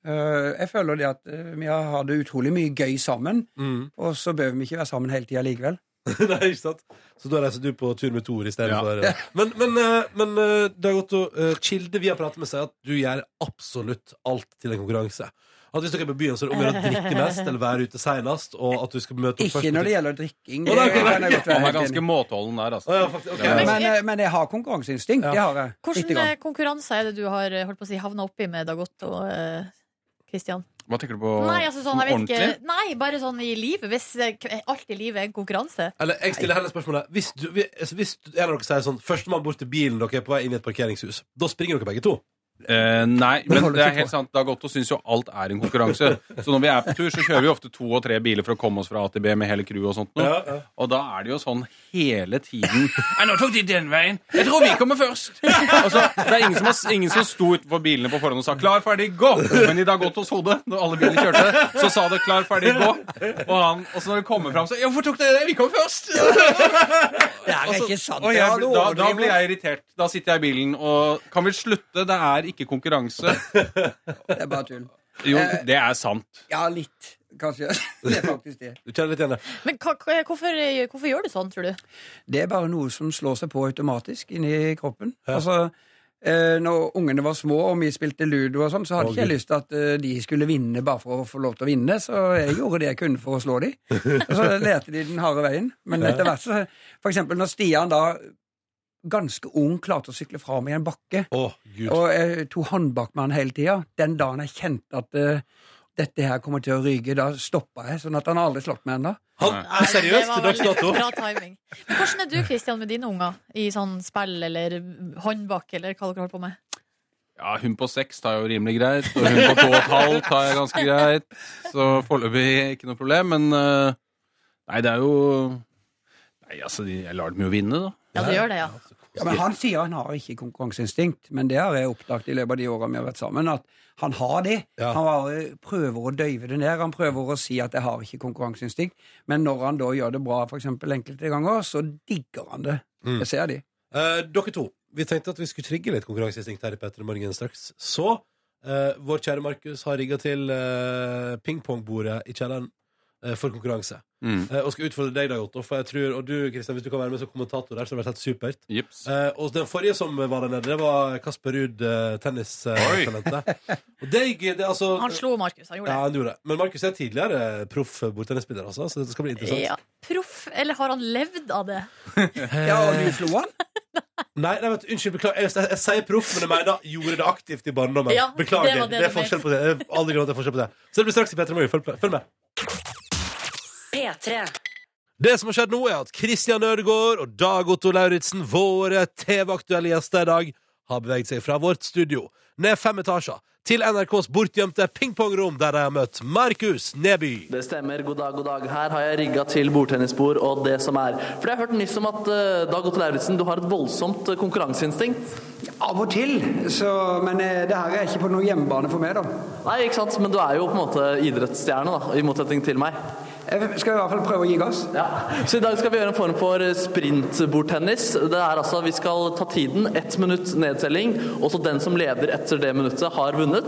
Speaker 7: Eh, jeg føler det at eh, vi har har det utrolig mye gøy sammen,
Speaker 2: Mm.
Speaker 7: og så behøver vi ikke være sammen hele tida likevel.
Speaker 2: nei, ikke sant? Så da reiser du på tur med Tor
Speaker 8: Ja.
Speaker 2: istedenfor. Ja. Men, men, eh, men eh, Dag Otto, eh, kilde vi har pratet med, sier at du gjør absolutt alt til en konkurranse. At Hvis dere er på byen, så er det om å gjøre å drikke mest eller være ute seinest. Og at du skal møte opp
Speaker 7: Ikke
Speaker 2: først.
Speaker 7: når det gjelder drikking.
Speaker 2: Å, nei,
Speaker 7: det kan jeg godt være
Speaker 8: Han er
Speaker 7: helt
Speaker 8: ganske
Speaker 7: enig i.
Speaker 8: måteholden der, altså.
Speaker 2: Å, ja, faktisk, ok.
Speaker 8: Ja.
Speaker 2: Men-
Speaker 7: men, eh, men jeg har konkurranseinstinkt.
Speaker 2: Ja.
Speaker 7: Det har jeg. Lite
Speaker 3: Hvilke
Speaker 7: grann.
Speaker 3: konkurranser eh, er det du har eh, holdt på å si, havna oppi med Dag Otto? eh, Christian?
Speaker 8: Hva tenker du på?
Speaker 3: Nei, altså sånn, jeg vet
Speaker 8: ordentlig?
Speaker 3: ikke. Nei, bare sånn i livet. Hvis eh, k- alt i livet er en konkurranse.
Speaker 2: Eller jeg stiller heller spørsmålet Hvis, du, vi- altså, hvis du- en av dere sier sånn Førstemann bort til bilen dere er på vei inn i et parkeringshus Da springer dere begge to
Speaker 8: Eh, nei, men
Speaker 7: holder
Speaker 8: det er
Speaker 7: ikke
Speaker 8: helt
Speaker 7: på.
Speaker 8: sant. Dag Otto syns jo alt er en konkurranse. Så når vi er på tur, så kjører vi ofte to og tre biler for å komme oss fra A til B med hele crewet og sånt. Nå.
Speaker 2: Ja, ja.
Speaker 8: Og da er det jo sånn hele tiden Nei, nå tok de den veien! Jeg tror vi kommer først! Og så, det er ingen som, har, ingen som sto utenfor bilene på forhånd og sa 'klar, ferdig, gå'. Men i Dag Ottos hode, når alle biler kjørte, så sa det 'klar, ferdig, gå'. Og, han, og så når det kommer fram, så 'ja, hvorfor tok dere det? Vi kom først'!
Speaker 7: Det er
Speaker 8: Altså,
Speaker 7: ikke sant.
Speaker 8: og
Speaker 7: det
Speaker 8: jeg,
Speaker 7: har du
Speaker 8: da, da
Speaker 7: overdrevet.
Speaker 8: blir jeg irritert. Da sitter jeg i bilen og Kan vi slutte? Det er ikke konkurranse.
Speaker 7: Det er bare tull.
Speaker 8: Jo, det er sant.
Speaker 7: Ja, litt, kanskje. Det er faktisk det.
Speaker 2: Du kjenner litt igjen det
Speaker 3: Men hva- hva- hvorfor, eh, hvorfor gjør du sånn, tror du?
Speaker 7: Det er bare noe som slår seg på automatisk inni kroppen. Altså, eh, når ungene var små og vi spilte ludo og sånn, så hadde
Speaker 2: Å,
Speaker 7: ikke jeg
Speaker 2: Gud.
Speaker 7: lyst til at eh, de skulle vinne bare for å få lov til å vinne, så jeg gjorde det jeg kunne for å slå de. Og så lærte de den harde veien. Men etter hvert så For eksempel når Stian da ganske ung klarte å sykle fra meg i en bakke,
Speaker 2: Å, Gud
Speaker 7: og jeg tok håndbak med han hele tida, den dagen jeg kjente at eh, dette her kommer til å ryke, da stoppa jeg, sånn at han har aldri slått meg ennå.
Speaker 2: Han er
Speaker 3: Det
Speaker 2: seriøst
Speaker 3: var
Speaker 2: til dags
Speaker 3: veldig
Speaker 2: dato
Speaker 3: Bra timing. Men hvordan er du Christian, med dine unger i sånn spill eller håndbak eller hva dere holder på med?
Speaker 8: Ja, Hun på seks tar jo rimelig greit, og hun på to og et halvt tar jeg ganske greit. Så foreløpig ikke noe problem. Men eh, nei, det er jo Nei, altså, de- jeg lar dem jo vinne, da.
Speaker 3: Ja, du gjør det, ja.
Speaker 7: Ja, men Han sier han har ikke konkurranseinstinkt, men det har jeg oppdaget i løpet av de åra vi har vært sammen. At han har det.
Speaker 2: Ja.
Speaker 7: Han bare prøver å døyve det ned. Han prøver å si at 'jeg har ikke konkurranseinstinkt', men når han da gjør det bra for eksempel enkelte ganger, så digger han det. Jeg ser de.
Speaker 2: Eh, Dere to Vi tenkte at vi skulle trigge litt konkurranseinstinkt her i Petter i morgen straks Så eh, Vår kjære Markus har rigget til eh, pingpongbordet i kjelleren eh, For konkurranse
Speaker 8: Mm.
Speaker 2: Eh, Og skal utfordre deg Dag Otto For jeg tror, og du Kristian, hvis du kan være med som kommentator der Så har det vært helt supert
Speaker 8: Jips.
Speaker 2: Eh, og den forrige som var der nede, det var Kasper Ruud, uh,
Speaker 8: Oi.
Speaker 2: tennistalentet. og det gikk det, altså,
Speaker 3: Han slo Markus, han
Speaker 2: ja,
Speaker 3: gjorde det.
Speaker 2: han gjorde det. Men Markus er tidligere eh, proff bordtennisspiller, altså, så dette skal bli interessant.
Speaker 3: Ja, Proff, eller har han levd av det?
Speaker 7: Ja, og du slo han?
Speaker 2: Nei, nei, vet du, unnskyld, beklager. Jeg, jeg, jeg sier proff, men jeg mener gjorde det aktivt i barndommen.
Speaker 3: Ja,
Speaker 2: beklager.
Speaker 3: det var
Speaker 2: Det,
Speaker 3: det
Speaker 2: er
Speaker 3: du mente.
Speaker 2: forskjell på det. Jeg har aldri glemt at det er forskjell på det. Så det blir straks i P3 Morgen. Følg, følg med.
Speaker 1: P3.
Speaker 2: Det som har skjedd nå, er at Christian Ødegaard og Dag Otto Lauritzen, våre TV-aktuelle gjester i dag, har beveget seg fra vårt studio ned fem etasjer til NRKs bortgjemte pingpongrom, der de har møtt Markus Neby.
Speaker 4: Det stemmer. God dag, god dag. Her har jeg rigga til bordtennisbord og det som er. For jeg har hørt nyss om at eh, Dag Otto Lauritzen, du har et voldsomt eh, konkurranseinstinkt.
Speaker 7: Av og til. Så, men eh, det her er ikke på noen hjemmebane for meg, da.
Speaker 4: Nei, ikke sant, men du er jo på en måte idrettsstjerne, da, i motsetning til meg.
Speaker 7: Jeg skal i hvert fall prøve å gi gass.
Speaker 4: Ja. Så i dag skal vi gjøre en form for eh, sprintbordtennis. Det er altså, Vi skal ta tiden, ett minutt nedtelling, og så den som leder etter det minuttet, har vunnet.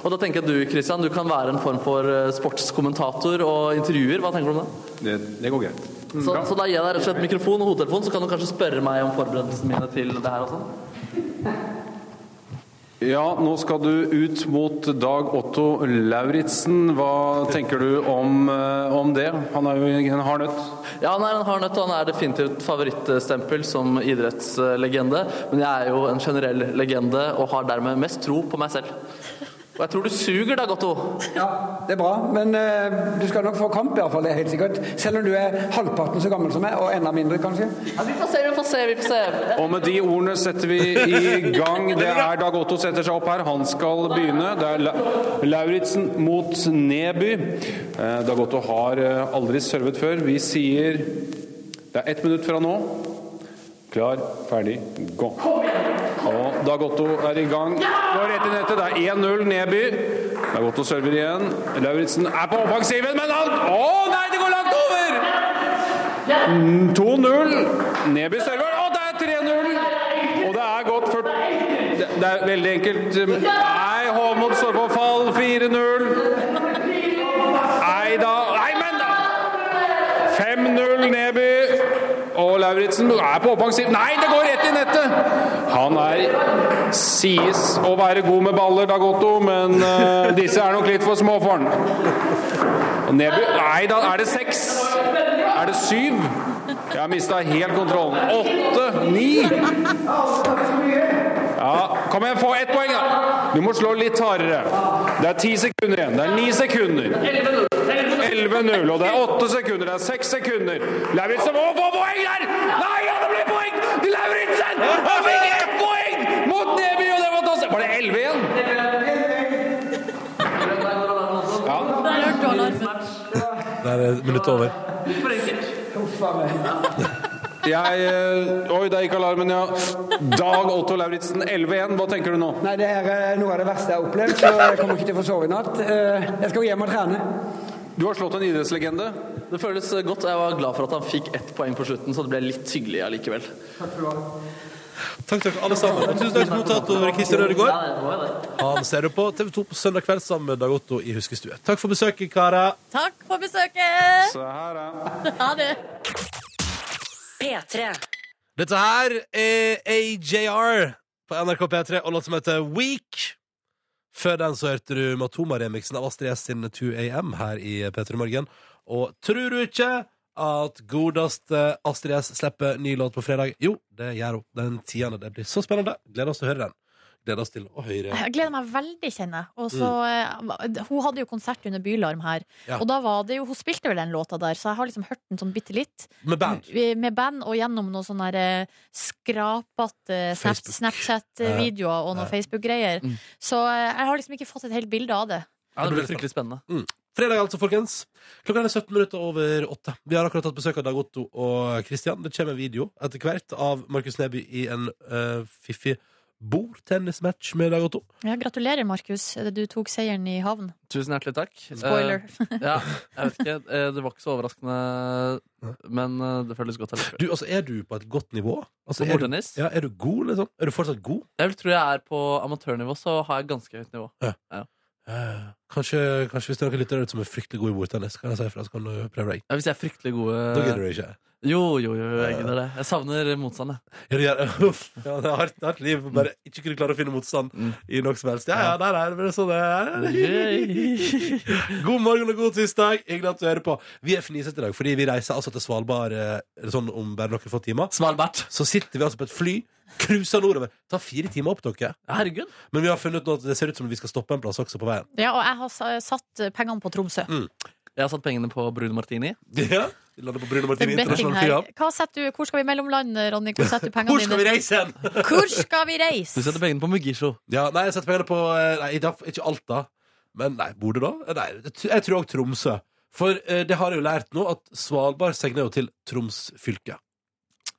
Speaker 4: Og da tenker jeg du, Christian, du kan være en form for eh, sportskommentator og intervjuer. Hva tenker du om det?
Speaker 8: Det, det går greit.
Speaker 4: Så, så da gir jeg deg rett og slett mikrofon og hodetelefon, så kan du kanskje spørre meg om forberedelsene mine til det her og sånn.
Speaker 8: Ja, nå skal du ut mot Dag Otto Lauritzen. Hva tenker du om, eh, om det? Han er jo en hard nøtt.
Speaker 4: Ja, han er en hard nøtt, og han er definitivt favorittstempel som idrettslegende. Men jeg er jo en generell legende og har dermed mest tro på meg selv. Og jeg tror du suger, Dag Otto.
Speaker 7: Ja, det er bra, men eh, du skal nok få kamp, i hvert fall, det er helt sikkert. Selv om du er halvparten så gammel som meg, og enda mindre, kanskje.
Speaker 4: Ja, vi får se, vi får se, vi får se.
Speaker 8: Og med de ordene setter vi i gang. Det er Dag Otto setter seg opp her. Han skal begynne. Det er La- Lauritzen mot Neby. Eh, Dag Otto har eh, aldri servet før. Vi sier Det er ett minutt fra nå. Klar, ferdig, gå. Og Dag Otto er i gang. Nå rett i nettet. Det er 1-0 Neby. Dag Otto server igjen. Lauritzen er på offensiven, men han Å nei, det går langt over! Mm, 2-0. Neby server, og det er 3-0! Og det er godt for Det det er veldig enkelt. Nei, Håmod står på fall. 4-0. Nei da Nei, men da! 5-0 Neby. Og Lauritzen er på offensiv. Nei, det går rett i nettet! Han er sies å være god med baller, Dag Otto, men eh, disse er nok litt for små for han. Og Neby Nei da, er det seks? Er det syv? Jeg har mista helt kontrollen. Åtte, ni Ja, kom igjen, få ett poeng, da! Du må slå litt hardere. Det er ti sekunder igjen. Det er ni sekunder. 11-0, og det er 8 sekunder, det er 6 sekunder. Lauritzen må få poeng der! Nei, ja, det blir poeng til Lauritzen! Han fikk ett poeng mot Neby, og det var fantastisk! Var det 11 igjen? Ja.
Speaker 3: Der hørte du alarmen.
Speaker 2: Der er minuttet over.
Speaker 8: Jeg eh, Oi, der gikk alarmen, ja. Dag Otto Lauritzen, 11-1. Hva tenker du nå?
Speaker 7: Nei, det her er eh, noe av det verste jeg har opplevd, så jeg kommer ikke til å få sove i natt. Eh, Jeg skal hjem og trene.
Speaker 8: Du har slått en idrettslegende.
Speaker 4: Det føles godt. og Jeg var glad for at han fikk ett poeng på slutten, så det ble litt hyggelig allikevel.
Speaker 2: Takk, takk, alle sammen. Tusen takk til kommentator Kristian Ødegaard.
Speaker 4: det var jo det.
Speaker 2: Han ser du på TV 2 på søndag kveld sammen med Dag Otto i Huskestue. Takk for besøket, karer.
Speaker 3: Takk for besøket!
Speaker 8: Se her, ja.
Speaker 3: Ha det.
Speaker 1: P3.
Speaker 2: Dette her er AJR på NRK P3 og låt som heter Week. Før den så hørte du Matoma-remiksen av Astrid S sin 2AM her i P3 Morgen. Og tror du ikke at godeste Astrid S slipper ny låt på fredag? Jo, det gjør hun. Den tiende. Det blir så spennende. Gleder oss til å høre den. Gleder oss til å høre.
Speaker 3: Jeg gleder meg veldig, kjenner jeg. Og så, eh, Hun hadde jo konsert under Bylarm her.
Speaker 2: Mm. Ja.
Speaker 3: Og da var det jo, hun spilte vel den låta der, så jeg har liksom hørt den sånn bitte litt.
Speaker 2: Med band.
Speaker 3: Vi- Med band og gjennom noen sånne der, eh, skrapete snap-
Speaker 2: Facebook. Mm.
Speaker 3: Snapchat-videoer og noen Facebook-greier. Så eh, jeg har liksom ikke fått et helt bilde av det.
Speaker 4: Ja, det blir fryktelig spennende.
Speaker 2: Fredag altså, folkens. Klokka er 17 minutter over åtte. Vi har akkurat hatt besøk av Dag Otto og Kristian. Det kommer en video etter hvert av Markus Neby i en eh, fiffig bordtennismatch med Dag Otto.
Speaker 3: Ja, gratulerer, Markus. eh, Du tok seieren i havn.
Speaker 2: Eh.
Speaker 4: Tusen hjertelig takk.
Speaker 3: Spoiler.
Speaker 4: Eh, ja, jeg vet ikke. eh, Det var ikke så overraskende, men eh, det føles godt. allikevel.
Speaker 2: Du, altså, er du på et godt nivå? Altså,
Speaker 4: På
Speaker 2: er, du,
Speaker 4: bordtennis?
Speaker 2: ja, er du god, liksom? Er du fortsatt god?
Speaker 4: Jeg tror jeg er på amatørnivå, så har jeg ganske høyt nivå.
Speaker 2: Eh, Kanskje, kanskje hvis det er noen lyttere der ute som er fryktelig god i bordtennis, kan jeg si ifra, så kan du prøve deg.
Speaker 4: Ja, Hvis jeg er fryktelig gode
Speaker 2: Da gidder du
Speaker 4: Øh.
Speaker 2: ikke.
Speaker 4: Jo, jo, jo, jeg gidder det. Jeg savner motstand, jeg.
Speaker 2: Ja, du gjør- Uff, ja, det er hardt, hardt liv. Bare ikke kunne klare å finne motstand
Speaker 4: Mm.
Speaker 2: i noe som helst. Ja, ja, der er det bare sånn det er. God morgen og god tirsdag. Hyggelig at du hører på. Vi er fnisete i dag, fordi vi reiser altså til Svalbard eh, sånn om bare noen få timer.
Speaker 4: Svalbard.
Speaker 2: Så sitter vi altså på et fly, cruiser nordover. Tar fire timer opp, dere.
Speaker 4: Herregud.
Speaker 2: Men vi har funnet ut nå at det ser ut som vi skal stoppe en plass også på veien.
Speaker 3: Ja, og jeg har sa- satt eh, pengene på Tromsø.
Speaker 2: Mm.
Speaker 4: Jeg har satt pengene på Brune Martini.
Speaker 2: Ja, vi lander på Bryne
Speaker 3: Det
Speaker 2: Martine
Speaker 3: er betting
Speaker 2: Internasjonale
Speaker 3: her.
Speaker 2: Flyhavn.
Speaker 3: Hva setter du, hvor skal vi mellomlande, Ronny? Hvor setter du pengene
Speaker 2: Hvor skal vi
Speaker 3: dine?
Speaker 2: reise hen?
Speaker 3: Hvor skal vi
Speaker 4: Du
Speaker 3: reise?
Speaker 4: setter pengene på Mugisho.
Speaker 2: Ja, nei, jeg setter pengene på eh, Nei, i dag- ikke Alta. Men nei, Bodø, da? Eh, Nei, jeg tr- jeg tror òg Tromsø. For eh, det har jeg jo lært nå, at Svalbard segner jo til Troms fylke.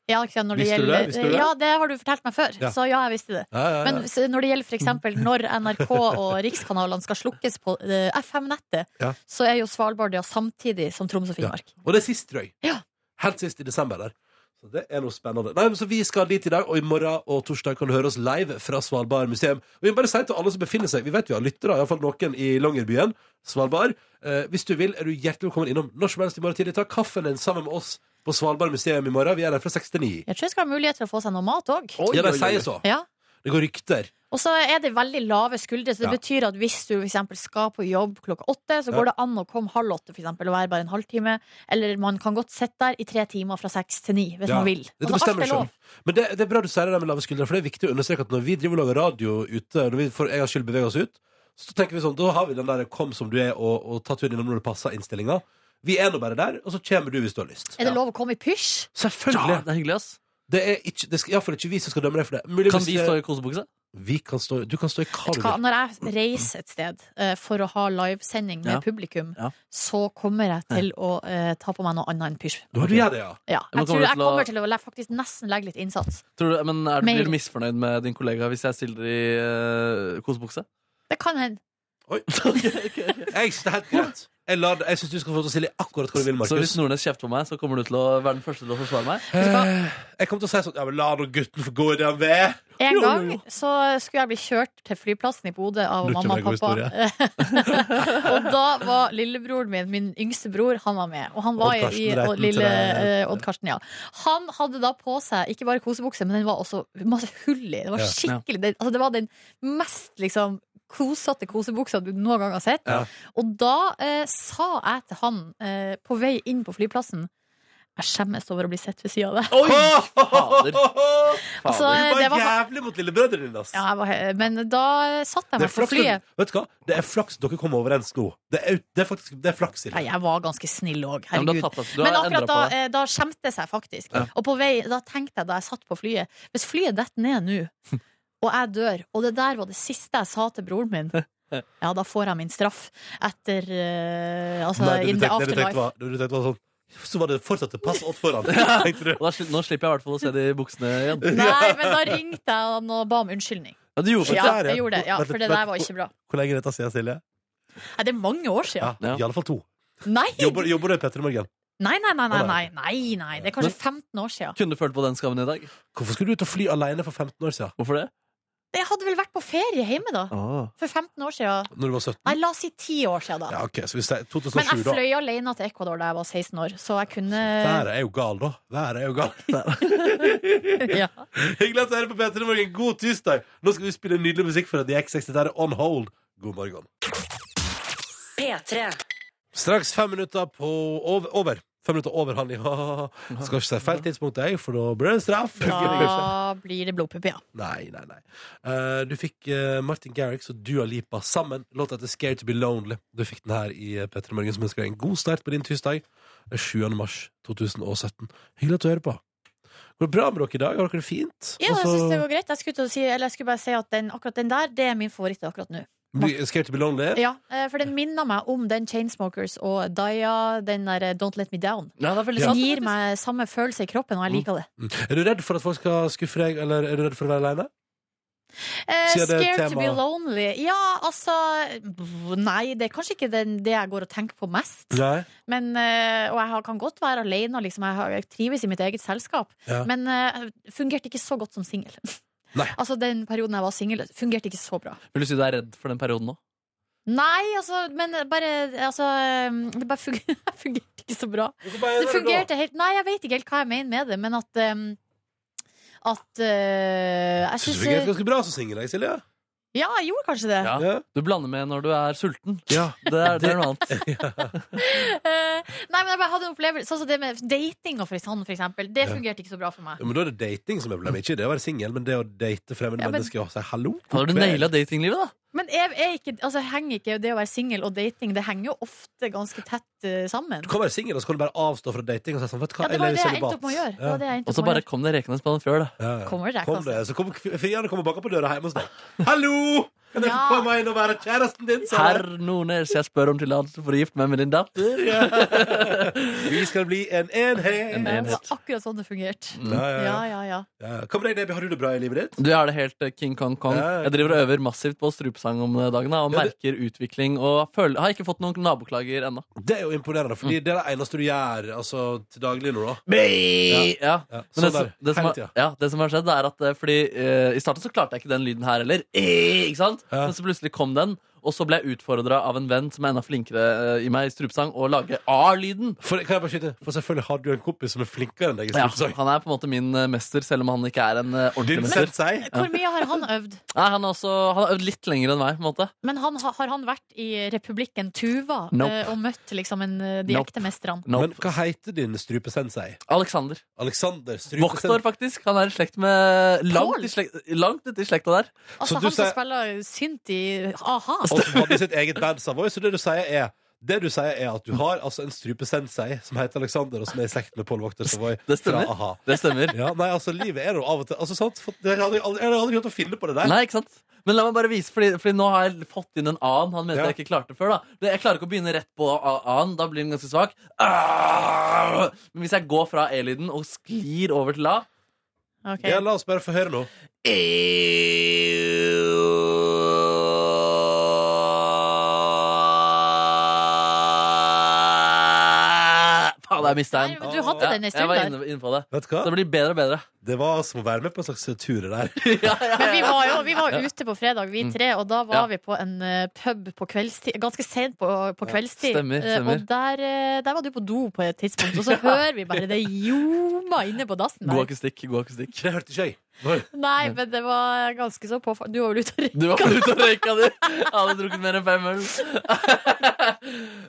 Speaker 3: Ja, ikke sant, når det
Speaker 2: Visste du det?
Speaker 3: gjelder,
Speaker 2: Visste du det?
Speaker 3: Ja, det har du fortalt meg før,
Speaker 2: Ja.
Speaker 3: så ja, jeg visste det.
Speaker 2: Ja, ja, ja. Mm.
Speaker 3: Men s- når det gjelder for eksempel når NRK og rikskanalene skal slukkes på eh, FM-nettet,
Speaker 2: Ja.
Speaker 3: så er jo Svalbard det samtidig som Troms og Finnmark.
Speaker 2: Og det er sist, tror jeg.
Speaker 3: Ja.
Speaker 2: Helt sist i desember der. Så det er noe spennende. Nei, men så Vi skal dit i dag, og i morgen og torsdag kan du høre oss live fra Svalbard museum. Og Vi må bare si til alle som befinner seg Vi vet vi har lyttere, iallfall noen i Longyearbyen. Svalbard. Eh, hvis du vil, er du hjertelig velkommen innom når som helst i morgen tidlig. Ta kaffen din sammen med oss på Svalbard museum i morgen. Vi er der fra 6 til 9.
Speaker 3: Jeg tror jeg skal ha mulighet til å få seg noe mat òg.
Speaker 2: ja, de sier så.
Speaker 3: Ja.
Speaker 2: Det går rykter.
Speaker 3: Og så er det veldig lave skuldre, så det
Speaker 2: Ja.
Speaker 3: betyr at hvis du for eksempel skal på jobb klokka åtte, så
Speaker 2: Ja.
Speaker 3: går det an å komme halv åtte for eksempel, og være bare en halvtime. Eller man kan godt sitte der i tre timer fra seks til ni, hvis
Speaker 2: Ja.
Speaker 3: man vil. Altså,
Speaker 2: Dette bestemmer du selv. Men det, det er bra du sier det der med lave skuldre, for det er viktig å understreke at når vi driver og lager radio ute, når vi for en gangs skyld beveger oss ut, så tenker vi sånn, da har vi den der kom som du er og, og ta turen innom når det passer innstillinga. Vi er nå bare der, og så kommer du hvis du har lyst.
Speaker 3: Er det lov å komme i pysj?
Speaker 2: Selvfølgelig.
Speaker 4: det er hyggelig, ass.
Speaker 2: Det er ikke, det skal, i hvert fall ikke vi som skal dømme deg for det. Mulig
Speaker 4: Kan
Speaker 2: hvis
Speaker 4: vi
Speaker 2: det-
Speaker 4: stå i kosebukse?
Speaker 2: Vi kan stå, du kan stå i hva
Speaker 3: Vet
Speaker 2: du
Speaker 3: du hva,
Speaker 2: vil.
Speaker 3: når jeg reiser et sted eh, for å ha livesending med
Speaker 4: Ja.
Speaker 3: publikum,
Speaker 4: Ja.
Speaker 3: så kommer jeg til å eh, ta på meg noe annet enn pysj.
Speaker 2: Da du gjør det, ja.
Speaker 3: Ja.
Speaker 4: Men
Speaker 3: Jeg tror
Speaker 4: kommer du
Speaker 3: jeg
Speaker 4: til å-
Speaker 3: kommer til å le- faktisk nesten legge litt innsats.
Speaker 4: Tror du, men
Speaker 3: Mer.
Speaker 4: er, blir du misfornøyd med din kollega hvis jeg stiller i eh, kosebukse?
Speaker 3: Det kan hende.
Speaker 2: Oi. Jeg synes det er helt greit. Jeg, lar- jeg syns du skal få lov til å stille akkurat hva du vil,
Speaker 4: Så hvis
Speaker 2: Markus.
Speaker 4: Nordnes kjefter på meg, så kommer du til å være den første til å forsvare meg?
Speaker 2: Jeg kommer til å si sånn Ja, men la nå gutten få gå i det han vil. Jo,
Speaker 3: En
Speaker 2: jo,
Speaker 3: gang
Speaker 2: jo.
Speaker 3: så skulle jeg bli kjørt til flyplassen i Bodø av
Speaker 2: Lurte
Speaker 3: mamma
Speaker 2: meg
Speaker 3: og
Speaker 2: god
Speaker 3: pappa. og da var lillebroren min, min yngste bror, han var med. Og han var
Speaker 2: Odd Karsten
Speaker 3: i
Speaker 2: Reiten
Speaker 3: og, lille
Speaker 2: til deg.
Speaker 3: eh, Odd Karsten, ja. Han hadde da på seg ikke bare kosebukse, men den var også masse hull i. Det var
Speaker 2: Ja.
Speaker 3: skikkelig det, altså, det var den mest liksom kosete kosebuksa du noen gang har sett.
Speaker 2: Ja.
Speaker 3: Og da eh, sa jeg til han eh, på vei inn på flyplassen Jeg skjemmes over å bli sett ved sida av deg.
Speaker 4: fader.
Speaker 3: Altså,
Speaker 2: Du var,
Speaker 3: det var
Speaker 2: jævlig mot lillebrødrene dine, ass.
Speaker 3: Ja, jeg var, he- men da satt
Speaker 2: Det
Speaker 3: jeg
Speaker 2: er
Speaker 3: meg på
Speaker 2: flaks,
Speaker 3: flyet.
Speaker 2: vet du hva? Det er flaks dere kom overens nå. Det er, ut- det er faktisk det er flaks i
Speaker 3: Nei,
Speaker 2: det.
Speaker 3: jeg var ganske snill òg,
Speaker 4: Ja, men du har
Speaker 3: herregud.
Speaker 4: tatt deg- du
Speaker 3: Men
Speaker 4: har
Speaker 3: akkurat
Speaker 4: endret
Speaker 3: da,
Speaker 4: på deg.
Speaker 3: eh, da skjemtes jeg faktisk.
Speaker 4: Ja.
Speaker 3: Og på vei, da tenkte jeg da jeg satt på flyet Hvis flyet detter ned nå, og jeg dør, og det der var det siste jeg sa til broren min Ja, da får jeg min straff etter eh, Altså,
Speaker 2: Nei, det
Speaker 3: in
Speaker 2: du
Speaker 3: the
Speaker 2: tenkte- det du tenkte
Speaker 3: afterlife.
Speaker 2: var- det du tenkte var sånn Så var det fortsatt et pass åt foran. Tenkte du.
Speaker 3: eh,
Speaker 4: Og da, sli- nå slipper jeg i hvert fall å se de buksene igjen.
Speaker 3: Nei, men da ringte jeg han og ba om unnskyldning.
Speaker 4: Ja, du gjorde det.
Speaker 3: Ja,
Speaker 2: der, ja.
Speaker 3: jeg gjorde det. Ja,
Speaker 2: Vent
Speaker 3: for
Speaker 2: litt,
Speaker 3: det
Speaker 2: vent
Speaker 3: der var
Speaker 2: litt.
Speaker 3: ikke bra.
Speaker 2: Hvor lenge er dette siden, Silje?
Speaker 3: Nei, det er mange år
Speaker 2: Ja,
Speaker 3: siden.
Speaker 4: Ja.
Speaker 2: I alle fall to.
Speaker 3: Nei!
Speaker 2: Jobber, jobber du i Petter i morgen?
Speaker 3: Nei, nei, nei, nei,
Speaker 2: Å,
Speaker 3: nei,
Speaker 2: nei.
Speaker 3: nei, nei. Det er kanskje 15 år siden.
Speaker 4: Kunne du følt på den skammen i dag?
Speaker 2: Hvorfor skulle du ut og fly alene for 15 år siden?
Speaker 4: Hvorfor det?
Speaker 3: Jeg hadde vel vært på ferie hjemme da. For 15 år siden.
Speaker 2: Når du var 17?
Speaker 3: Nei, la oss si 10 år siden, da.
Speaker 2: Ja, ok, så vi sier
Speaker 3: Men
Speaker 2: 2007,
Speaker 3: jeg
Speaker 2: da.
Speaker 3: fløy alene til Ecuador da jeg var 16 år, så jeg kunne
Speaker 2: Været er jo gal, da. Været er jo gal.
Speaker 3: ja.
Speaker 2: Hyggelig at du hører på P3 Morgen. God tirsdag! Nå skal vi spille nydelig musikk for The X6. Dette er On Hold. God morgen.
Speaker 1: P3.
Speaker 2: Straks fem minutter på over. over. Fem minutter over han i Skal ikke si feil tidspunkt, jeg, for da blir det straff.
Speaker 3: Da blir det blodpupp, ja.
Speaker 2: Nei, nei, nei. Eh, du fikk eh, Martin Garrix og Dua Lipa sammen. Låta heter 'Scared to be Lonely'. Du fikk den her i P3 Morgen, som ønsker deg en god start på din tirsdag. Det er 7. mars 2017. Hyggelig at du hører på. Går det bra med dere i dag? Har dere det fint?
Speaker 3: Ja, jeg
Speaker 2: Også-
Speaker 3: synes det går greit. Jeg skulle, til å si, eller jeg skulle bare si at den, akkurat den der, det er min favoritt akkurat nå.
Speaker 2: Blir- 'Scared to be Lonely'?
Speaker 3: Ja, eh, for den minner meg om den Chainsmokers og Daya, den der eh, Don't Let Me Down.
Speaker 4: Ja, det er veldig
Speaker 3: Den
Speaker 4: sant.
Speaker 3: gir meg samme følelse i kroppen, og jeg liker det.
Speaker 2: Mm. Er du redd for at folk skal skuffe deg, eller er du redd for å være aleine?
Speaker 3: Eh,
Speaker 2: Siden det er
Speaker 3: scared to be
Speaker 2: tema-
Speaker 3: lonely. Ja, altså pff, Nei, det er kanskje ikke den, det jeg går og tenker på mest.
Speaker 2: Nei.
Speaker 3: Men, eh, og jeg har- kan godt være alene, og liksom, jeg, har, jeg trives i mitt eget selskap.
Speaker 2: Ja.
Speaker 3: Men eh, fungerte ikke så godt som singel.
Speaker 2: Nei.
Speaker 3: altså, den perioden jeg var singel, fungerte ikke så bra.
Speaker 4: Vil du si du er redd for den perioden nå?
Speaker 3: Nei, altså, men bare altså, eh, Det bare fung- fungerte ikke så bra. Det fungerte helt Nei, jeg vet ikke helt hva jeg mener med det, men at eh, At eh, Jeg
Speaker 2: Syns
Speaker 3: syns
Speaker 2: du fungerte ganske bra som singel, jeg, Silje?
Speaker 3: Ja, jeg gjorde kanskje det.
Speaker 4: Ja.
Speaker 2: Ja.
Speaker 4: Du blander med når du er sulten.
Speaker 2: Ja.
Speaker 4: Det er, det er noe annet.
Speaker 3: Eh, nei, men jeg bare hadde en opplevelse Sånn som det med dating og for han, for eksempel. Det
Speaker 2: Ja.
Speaker 3: fungerte ikke så bra for meg.
Speaker 2: Ja, men da er det dating som er problemet, ikke det å være singel, men det å date fremmede
Speaker 3: Ja, men-
Speaker 2: mennesker og si hallo.
Speaker 4: Hadde du naila datinglivet, da?
Speaker 3: Men er, er ikke, altså, henger ikke det å være singel og dating Det henger jo ofte ganske tett eh, sammen.
Speaker 2: Du kan være singel, og så kan du bare avstå fra dating og si sånn, vet du hva,
Speaker 3: Ja, det
Speaker 2: jeg
Speaker 3: var
Speaker 2: lever
Speaker 3: det
Speaker 2: i
Speaker 3: jeg endte
Speaker 2: sølibat.
Speaker 3: opp med å gjøre. Det var det jeg endte
Speaker 4: Og så
Speaker 3: opp med å
Speaker 4: bare
Speaker 3: gjøre.
Speaker 4: kom det rekende på den fjøl, da.
Speaker 2: Ja, ja.
Speaker 3: Kommer altså. det,
Speaker 2: Kom
Speaker 3: kanskje?
Speaker 2: det. Så kommer kv- frierne kommer og banker på døra hjemme hos deg. Hallo! Kan jeg få
Speaker 3: Ja.
Speaker 2: komme inn og være kjæresten din? sa
Speaker 4: Herr
Speaker 2: jeg.
Speaker 4: Nordnes, jeg spør om tillatelse for å gifte meg med din datter.
Speaker 2: Vi skal bli en enhet.
Speaker 3: Ja,
Speaker 4: En
Speaker 3: det
Speaker 4: enhet.
Speaker 3: var akkurat sånn det fungerte.
Speaker 2: Ja, ja, ja.
Speaker 3: Ja, ja, ja.
Speaker 2: Ja. Hva med deg, Debbie? Har du det bra i livet ditt?
Speaker 4: Du er det helt eh, King Kong Kong.
Speaker 2: Ja, ja.
Speaker 4: Jeg driver og øver massivt på strupesang om dagen da, og
Speaker 2: Ja, det-
Speaker 4: merker utvikling. Og føler, har ikke fått noen naboklager ennå.
Speaker 2: Det er jo imponerende, fordi
Speaker 3: Mm.
Speaker 2: det er det eneste du gjør altså, til daglig nå, da.
Speaker 4: Ja. Ja.
Speaker 2: Ja,
Speaker 4: Men
Speaker 2: sånn
Speaker 4: det,
Speaker 2: der,
Speaker 4: det, som
Speaker 2: hele
Speaker 4: har,
Speaker 2: tida.
Speaker 4: ja, det som har skjedd, er at eh, fordi eh, i starten så klarte jeg ikke den lyden her heller. Eh, ikke sant?
Speaker 2: Ja.
Speaker 4: Men så plutselig kom den, Og så ble jeg utfordra av en venn som er enda flinkere eh, i meg i strupesang, å lage A-lyden.
Speaker 2: For, kan jeg bare skyte? For selvfølgelig har du en kompis som er flinkere enn deg i
Speaker 4: Ja,
Speaker 2: strupesang.
Speaker 4: han er på en måte min eh, mester, selv om han ikke er en eh, ordentlig
Speaker 2: Din
Speaker 4: mester.
Speaker 2: sensei.
Speaker 3: Hvor mye har han øvd?
Speaker 4: Nei, han, er også, han har øvd litt lenger enn meg. på en måte
Speaker 3: Men han, ha- har han vært i republikken Tuva
Speaker 4: Nope.
Speaker 3: eh, og møtt liksom en, eh, de
Speaker 4: Nope.
Speaker 3: ekte mestrene?
Speaker 4: nope.
Speaker 2: Men hva heter din strupesensei?
Speaker 4: Alexander.
Speaker 2: Alexander
Speaker 4: Voktor,
Speaker 2: strupesensei.
Speaker 4: faktisk. Han er i slekt med Langt,
Speaker 3: Paul?
Speaker 4: i slekt, langt ute i slekta der.
Speaker 3: Altså
Speaker 2: Så du
Speaker 3: han som
Speaker 2: sier-
Speaker 3: spiller synt i a-ha.
Speaker 2: Og som hadde sitt eget band Savoy. Så det du sier, er det du sier er at du har altså en strupesensei som heter Alexander, og som er i slekt med Pål Vokter Savoy.
Speaker 4: Det stemmer.
Speaker 2: Fra a-ha.
Speaker 4: Det stemmer.
Speaker 2: Ja, nei, altså, livet er jo av og til altså, sant? For Jeg hadde aldri, jeg hadde aldri klart å finne på det der.
Speaker 4: Nei, ikke sant? Men la meg bare vise, fordi, fordi nå har jeg fått inn en annen han mente
Speaker 2: Ja.
Speaker 4: jeg ikke klarte før. da Men Jeg klarer ikke å begynne rett på a- annen, da blir den ganske svak. Ah! Men hvis jeg går fra E-lyden og sklir over til A
Speaker 3: Ok.
Speaker 2: Ja, la oss bare få høre nå.
Speaker 4: Faen, der mista jeg
Speaker 3: Nei, men
Speaker 4: den.
Speaker 3: du hadde den en stund
Speaker 4: jeg var
Speaker 3: der.
Speaker 4: inne, inne på det.
Speaker 2: Vet du
Speaker 4: Så
Speaker 2: hva?
Speaker 4: det blir bedre og bedre.
Speaker 2: Det var som å være med på en slags tur der.
Speaker 4: ja, ja,
Speaker 3: Men vi
Speaker 4: ja.
Speaker 3: var jo vi var jo ute på fredag, vi tre, og da var
Speaker 4: Ja.
Speaker 3: vi på en eh, pub på kveldstid, ganske sent på, på kveldstid.
Speaker 4: stemmer,
Speaker 3: Eh,
Speaker 4: stemmer.
Speaker 3: Og der, eh, der var du på do på et tidspunkt, og så hører vi bare det ljoma inne på dassen
Speaker 4: God
Speaker 3: der.
Speaker 4: akustikk. god akustikk
Speaker 2: Det hørte ikke jeg. Oi.
Speaker 3: Nei, men det var ganske så på Du var vel ute og
Speaker 4: Du var ute og røyka, du. Hadde drukket mer enn fem øl.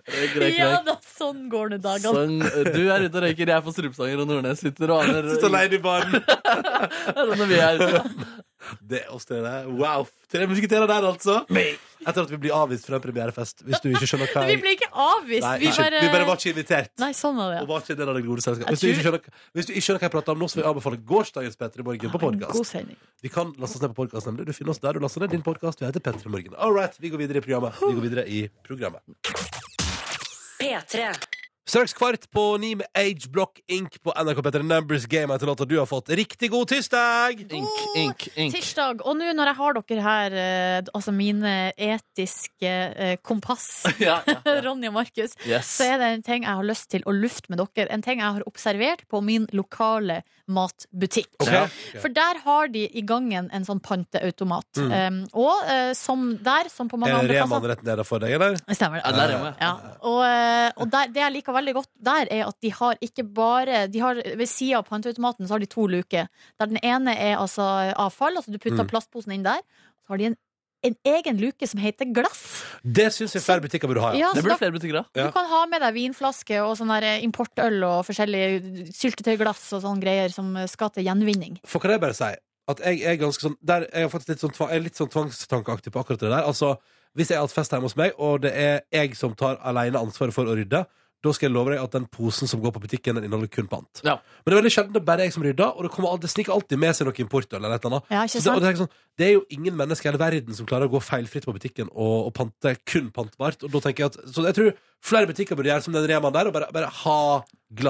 Speaker 4: Røyk, røyk,
Speaker 3: Ja
Speaker 4: røyk.
Speaker 3: da, sånn går det dagene.
Speaker 4: Sånn, du er ute og røyker, jeg er på Strupsanger, og Nordnes sitter og aner
Speaker 2: Sitter alene i baren.
Speaker 4: Eller når vi er ute.
Speaker 2: Det er oss det der. Wow. Tre musketerer der, altså. Etter at vi blir avvist fra en premierefest. Hvis du ikke skjønner hva
Speaker 3: Vi
Speaker 2: jeg
Speaker 3: ble ikke avvist.
Speaker 2: Nei,
Speaker 3: vi,
Speaker 2: ikke.
Speaker 3: bare...
Speaker 2: vi bare var ikke invitert.
Speaker 3: Nei, sånn var det.
Speaker 2: Og var ikke en del av det gode selskapet.
Speaker 3: Jeg
Speaker 2: Hvis du ikke skjønner, hvis du ikke skjønner hva jeg prater om nå, så vil jeg anbefale gårsdagens Petter i Morgen på
Speaker 3: ja. God
Speaker 2: podkast.
Speaker 3: sending.
Speaker 2: Vi kan laste oss ned på podkasten. Du finner oss der du laster ned din podkast. Vi heter Petter i Morgen. All right, vi går videre i programmet. Vi går videre i programmet.
Speaker 1: P3.
Speaker 2: Straks kvart på ni med Age Block Inc. på NRK Petter Numbers Game etter låta du har fått. Riktig god tirsdag!
Speaker 4: Ink, ink, ink.
Speaker 3: Tirsdag. Og nå når jeg har dere her, eh, altså mine etiske eh, kompass,
Speaker 4: Ja, ja, ja.
Speaker 3: Ronny og Markus,
Speaker 4: Yes.
Speaker 3: så er det en ting jeg har lyst til å lufte med dere. En ting jeg har observert på min lokale matbutikk.
Speaker 2: Ok?
Speaker 4: Ja.
Speaker 2: Ok. Mm.
Speaker 3: For der har de i gangen en sånn panteautomat. Um, og eh, som der, som på mange
Speaker 2: Er
Speaker 3: andre
Speaker 2: Remaen
Speaker 3: plasser
Speaker 2: rett nede for deg, eller?
Speaker 3: Stemmer det.
Speaker 4: Ja, der er vi.
Speaker 3: Ja, og, eh, og der, det jeg liker veldig godt der, er at de har ikke bare de har, Ved sida av panteautomaten så har de to luker. Der den ene er altså avfall, altså du putter
Speaker 2: Mm.
Speaker 3: plastposen inn der. Så har de en, en egen luke som heter glass.
Speaker 2: Det syns jeg flere butikker burde ha. Ja.
Speaker 3: Ja,
Speaker 4: Det
Speaker 3: så
Speaker 4: blir
Speaker 3: da,
Speaker 4: flere butikker av.
Speaker 2: ja.
Speaker 3: Du kan ha med deg vinflaske og sånn der eh, importøl og forskjellige syltetøyglass og sånne greier som eh, skal til gjenvinning.
Speaker 2: For kan jeg bare si at jeg er ganske sånn der, Jeg er faktisk litt sånn, tva- jeg er litt sånn tvangstankeaktig på akkurat det der. Altså, Hvis jeg har hatt fest hjemme hos meg, og det er jeg som tar alene ansvaret for å rydde, da skal jeg love deg at den posen som går på butikken, den inneholder kun pant.
Speaker 4: Ja.
Speaker 2: Men det er veldig sjelden det er bare jeg som rydder, og det, kommer, alltid- det sniker alltid med seg noe importøl eller et eller annet.
Speaker 3: Ja, ikke
Speaker 2: Så det, og
Speaker 3: sant?
Speaker 2: det, er ikke sånn, det er jo ingen mennesker i hele verden som klarer å gå feilfritt på butikken og, og pante kun pantbart. Og da tenker jeg at, så jeg tror flere butikker burde gjøre som den Remaen der, og bare, bare ha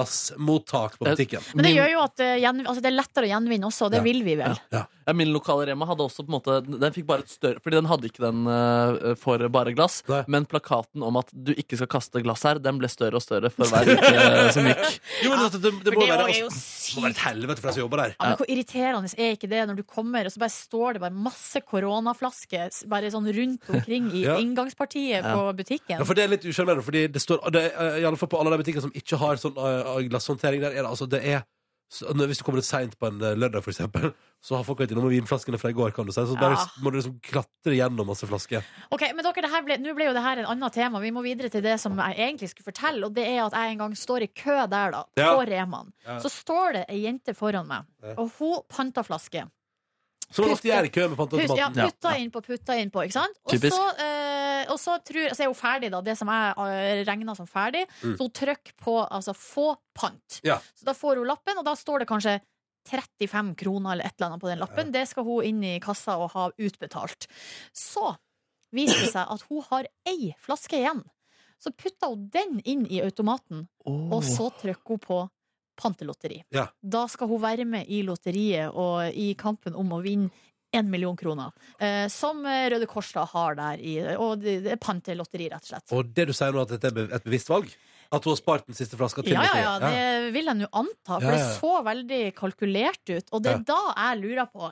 Speaker 2: glassmottak på butikken.
Speaker 3: Men det
Speaker 4: Min-
Speaker 3: gjør jo at eh, gjen, altså det er lettere å gjenvinne også, og det
Speaker 2: Ja.
Speaker 3: vil vi vel.
Speaker 4: Ja, min lokale Rema hadde også på en måte Den fikk bare et større Fordi den hadde ikke den eh, for bare glass.
Speaker 2: Nei.
Speaker 4: Men plakaten om at du ikke skal kaste glass her, den ble større og større for hver uke eh, som gikk.
Speaker 2: Jo, men det, det, det,
Speaker 3: For
Speaker 2: må
Speaker 3: det
Speaker 2: være,
Speaker 3: er jo
Speaker 2: altså, det må være et helvete for de som jobber der.
Speaker 3: Ja, men Hvor irriterende er ikke det når du kommer, og så bare står det bare masse koronaflasker s- Bare sånn rundt omkring i
Speaker 2: Ja.
Speaker 3: inngangspartiet på butikken.
Speaker 2: Ja, for det er litt usjarmerende, fordi det står det, er, eh, I alle fall på alle de butikkene som ikke har sånn eh, glasshåndtering der, er det altså det er så, når- hvis du kommer litt seint på en eh, lørdag, for eksempel, så har folk vært innom med vinflaskene fra i går. kan du si Så bare
Speaker 3: Ja.
Speaker 2: må du liksom klatre gjennom masse flasker.
Speaker 3: Ok, men dere, det her ble, Nå ble jo det her en annet tema. Vi må videre til det som jeg egentlig skulle fortelle. Og det er at jeg en gang står i kø der, da,
Speaker 2: Ja.
Speaker 3: på Reman.
Speaker 2: Ja.
Speaker 3: Så står det ei jente foran meg,
Speaker 2: Ja.
Speaker 3: og hun panta flaske.
Speaker 2: Som man ofte gjør i kø med
Speaker 3: Put, ja,
Speaker 2: panteautomaten.
Speaker 4: Ja.
Speaker 3: putta innpå, putta innpå, ikke sant? Og
Speaker 4: Typisk.
Speaker 3: så, eh, og så, tror, så er hun ferdig, da. Det som jeg regna som ferdig.
Speaker 2: Mm.
Speaker 3: Så hun trykker på altså, 'få pant'.
Speaker 2: Ja.
Speaker 3: Så da får hun lappen, og da står det kanskje 35 kroner eller et eller annet på den lappen. Det skal hun inn i kassa og ha utbetalt. Så viser det seg at hun har ei flaske igjen. Så putta hun den inn i automaten, og så trykker hun på pantelotteri.
Speaker 2: Oh. Ja.
Speaker 3: Da skal hun være med i lotteriet og i kampen om å vinne én million kroner. Eh, som eh, Røde Kors da har der i Og det, det er pantelotteri, rett og slett.
Speaker 2: Og det du sier nå, at dette er be- et bevisst valg? At hun har spart den siste flaska til
Speaker 3: Ja, ja, ja,
Speaker 2: lotteriet?
Speaker 3: det vil jeg nå anta, for
Speaker 2: Ja, ja, ja.
Speaker 3: det så veldig kalkulert ut. Og det
Speaker 2: Ja.
Speaker 3: er da jeg lurer på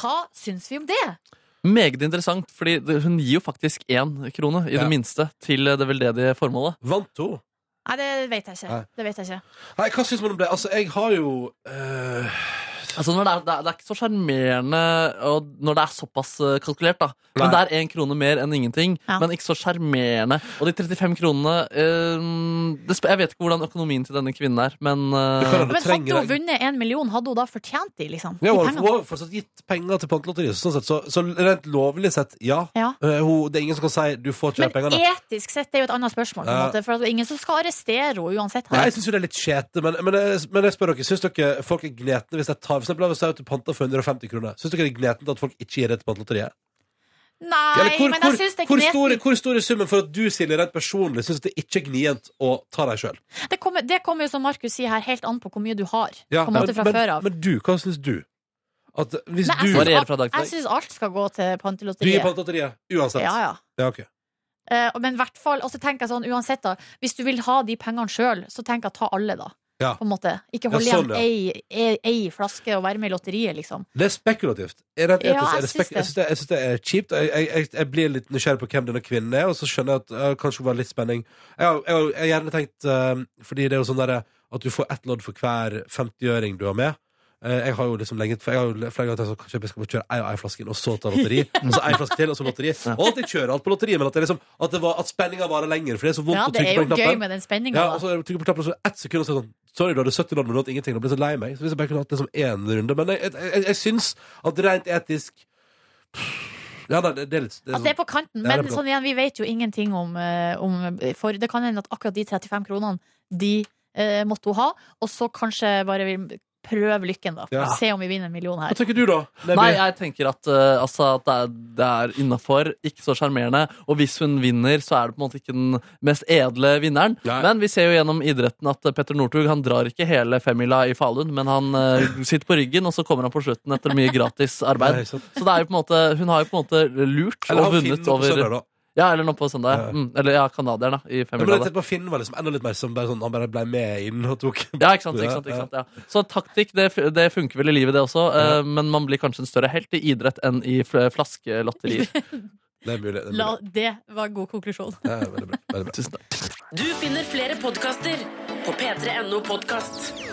Speaker 3: hva syns vi om det?
Speaker 4: Meget interessant, fordi det- hun gir jo faktisk én krone, i
Speaker 2: Ja.
Speaker 4: det minste, til det veldedige formålet.
Speaker 2: Vant hun?
Speaker 3: Nei, det vet jeg ikke.
Speaker 2: Nei.
Speaker 3: Det vet jeg ikke.
Speaker 2: Nei, hva syns man om det? Altså, jeg har jo eh,
Speaker 4: Altså, når det, er, det, er, det er ikke så sjarmerende og når det er såpass eh, kalkulert, da. Men det
Speaker 2: Nei.
Speaker 4: er én krone mer enn ingenting,
Speaker 3: Ja.
Speaker 4: men ikke så sjarmerende. Og de 35 kronene eh, det, sp- Jeg vet ikke hvordan økonomien til denne kvinnen er, men
Speaker 2: Du kan ha
Speaker 4: eh,
Speaker 2: det
Speaker 3: Men hadde hun
Speaker 2: trenger
Speaker 3: vunnet en million, hadde hun da fortjent de, liksom?
Speaker 2: ja,
Speaker 3: de
Speaker 2: hun har- hun
Speaker 3: pengene?
Speaker 2: har fortsatt gitt penger til Pantelotteriet, sånn sett. Så, så rent lovlig sett, ja.
Speaker 3: Ja.
Speaker 2: Eh, hun, det er ingen som kan si 'du får ikke de
Speaker 3: Men
Speaker 2: pengene'.
Speaker 3: etisk sett det er jo et annet spørsmål. På en
Speaker 2: Ja.
Speaker 3: måte, for at det er ingen som skal arrestere henne uansett.
Speaker 2: Nei,
Speaker 3: Her.
Speaker 2: jeg syns jo det er litt skjete, men, men, jeg- men jeg spør dere, syns dere folk er gletne hvis jeg tar For eksempel hvis jeg er ute og panter for 150 kroner, syns dere det er gletne at folk ikke gir det til Pantelotteriet?
Speaker 3: Nei,
Speaker 2: Eller hvor,
Speaker 3: men
Speaker 2: hvor,
Speaker 3: jeg syns det er
Speaker 2: hvor,
Speaker 3: knetent.
Speaker 2: stor, hvor stor er summen for at du, Silje, rent personlig syns det ikke er gnient å ta deg sjøl?
Speaker 3: Det kommer, det kommer jo, som Markus sier her, helt an på hvor mye du har. på en måte
Speaker 2: men,
Speaker 3: fra
Speaker 2: men,
Speaker 3: før av.
Speaker 2: men du, hva syns du? At hvis
Speaker 3: Nei,
Speaker 2: du
Speaker 3: jeg
Speaker 4: Varierer
Speaker 3: syns
Speaker 4: fra dag
Speaker 3: alt,
Speaker 4: til dag.
Speaker 3: jeg syns alt skal gå til
Speaker 2: Du gir
Speaker 3: Pantelotteriet.
Speaker 2: Pantelotteriet uansett?
Speaker 3: Ja, ja.
Speaker 2: Ja, ok.
Speaker 3: Eh, og- men i hvert fall, og så tenker jeg sånn, uansett da, hvis du vil ha de pengene sjøl, så tenk at ta alle, da.
Speaker 2: Ja.
Speaker 3: På en måte. Ikke hold
Speaker 2: Ja, sånn,
Speaker 3: igjen ei, ei, ei flaske og være med i lotteriet, liksom.
Speaker 2: Det er spekulativt. Er det,
Speaker 3: Ja,
Speaker 2: etisk, er
Speaker 3: jeg
Speaker 2: det
Speaker 3: syns
Speaker 2: spek jeg syns det, jeg syns det er kjipt. Jeg, jeg, jeg, jeg blir litt nysgjerrig på hvem denne kvinnen er, og så skjønner jeg at øh, kanskje hun var litt spenning. Jeg har, jeg har, jeg har gjerne tenkt øh, Fordi det er jo sånn derre at du får ett lodd for hver 50-øring du har med. Eh, jeg har jo liksom lenge Jeg har jo flere ganger tenkt sånn Kanskje jeg skal bare kjøre ei og ei flaske inn, og så ta lotteri. Og så ei flaske til, og så lotteri. Og at jeg kjører alt på lotteri, men at, det er liksom, at, det var, at spenninga varer lenger. For det er så vondt
Speaker 3: Ja,
Speaker 2: å
Speaker 3: det
Speaker 2: trykke
Speaker 3: er
Speaker 2: på
Speaker 3: jo
Speaker 2: den
Speaker 3: gøy
Speaker 2: knappen.
Speaker 3: med den spenninga,
Speaker 2: Ja, og
Speaker 3: da.
Speaker 2: så trykker jeg på knappen, og så ett sekund, og så er det sånn Sorry, du hadde 70 land, men du hadde ingenting. Da ble jeg så lei meg. Så hvis jeg bare kunne hatt liksom én runde Men jeg, jeg, jeg, jeg syns at rent etisk Ja, nei, det, det er litt det er
Speaker 3: At Altså, det er
Speaker 2: sånn,
Speaker 3: på kanten,
Speaker 2: Ja, det er
Speaker 3: men
Speaker 2: på
Speaker 3: sånn igjen, vi vet jo ingenting om, eh, om For det kan hende at akkurat de 35 kronene, de eh, måtte hun ha, og så kanskje bare vil prøve lykken, da.
Speaker 2: Ja.
Speaker 3: Se om vi vinner en million her.
Speaker 2: Hva tenker du, da? Nebby?
Speaker 4: Nei, jeg tenker at, eh, altså, at det er, det er innafor, ikke så sjarmerende. Og hvis hun vinner, så er det på en måte ikke den mest edle vinneren.
Speaker 2: Nei.
Speaker 4: Men vi ser jo gjennom idretten at eh, Petter Northug han drar ikke hele femmila i Falun, men han eh, sitter på ryggen, og så kommer han på slutten etter mye gratis arbeid.
Speaker 2: Nei, sant.
Speaker 4: Så det er jo på en måte, hun har jo på en måte lurt
Speaker 2: Eller
Speaker 4: og
Speaker 2: han Finn
Speaker 4: vunnet
Speaker 2: på
Speaker 4: over
Speaker 2: søndag, da.
Speaker 4: Ja, eller nå på søndag.
Speaker 2: Ja.
Speaker 4: Ja. Mm, eller ja, canadieren, da.
Speaker 2: Ja, men
Speaker 4: I
Speaker 2: jeg
Speaker 4: femmila.
Speaker 2: tenkte på Finn var liksom enda litt mer som bare sånn, han bare ble med inn og tok
Speaker 4: Ja, ikke sant, ikke sant, ikke sant ja. Så taktikk, det, fu- det funker vel i livet, det også. eh, Men man blir kanskje en større helt i idrett enn i fl- flaskelotterier.
Speaker 2: Det er mulig. Det er mulig.
Speaker 3: La, det var en god konklusjon.
Speaker 2: Ja, veldig bra, veldig bra.
Speaker 4: Tusen takk.
Speaker 1: Du finner flere podkaster på p3.no podkast.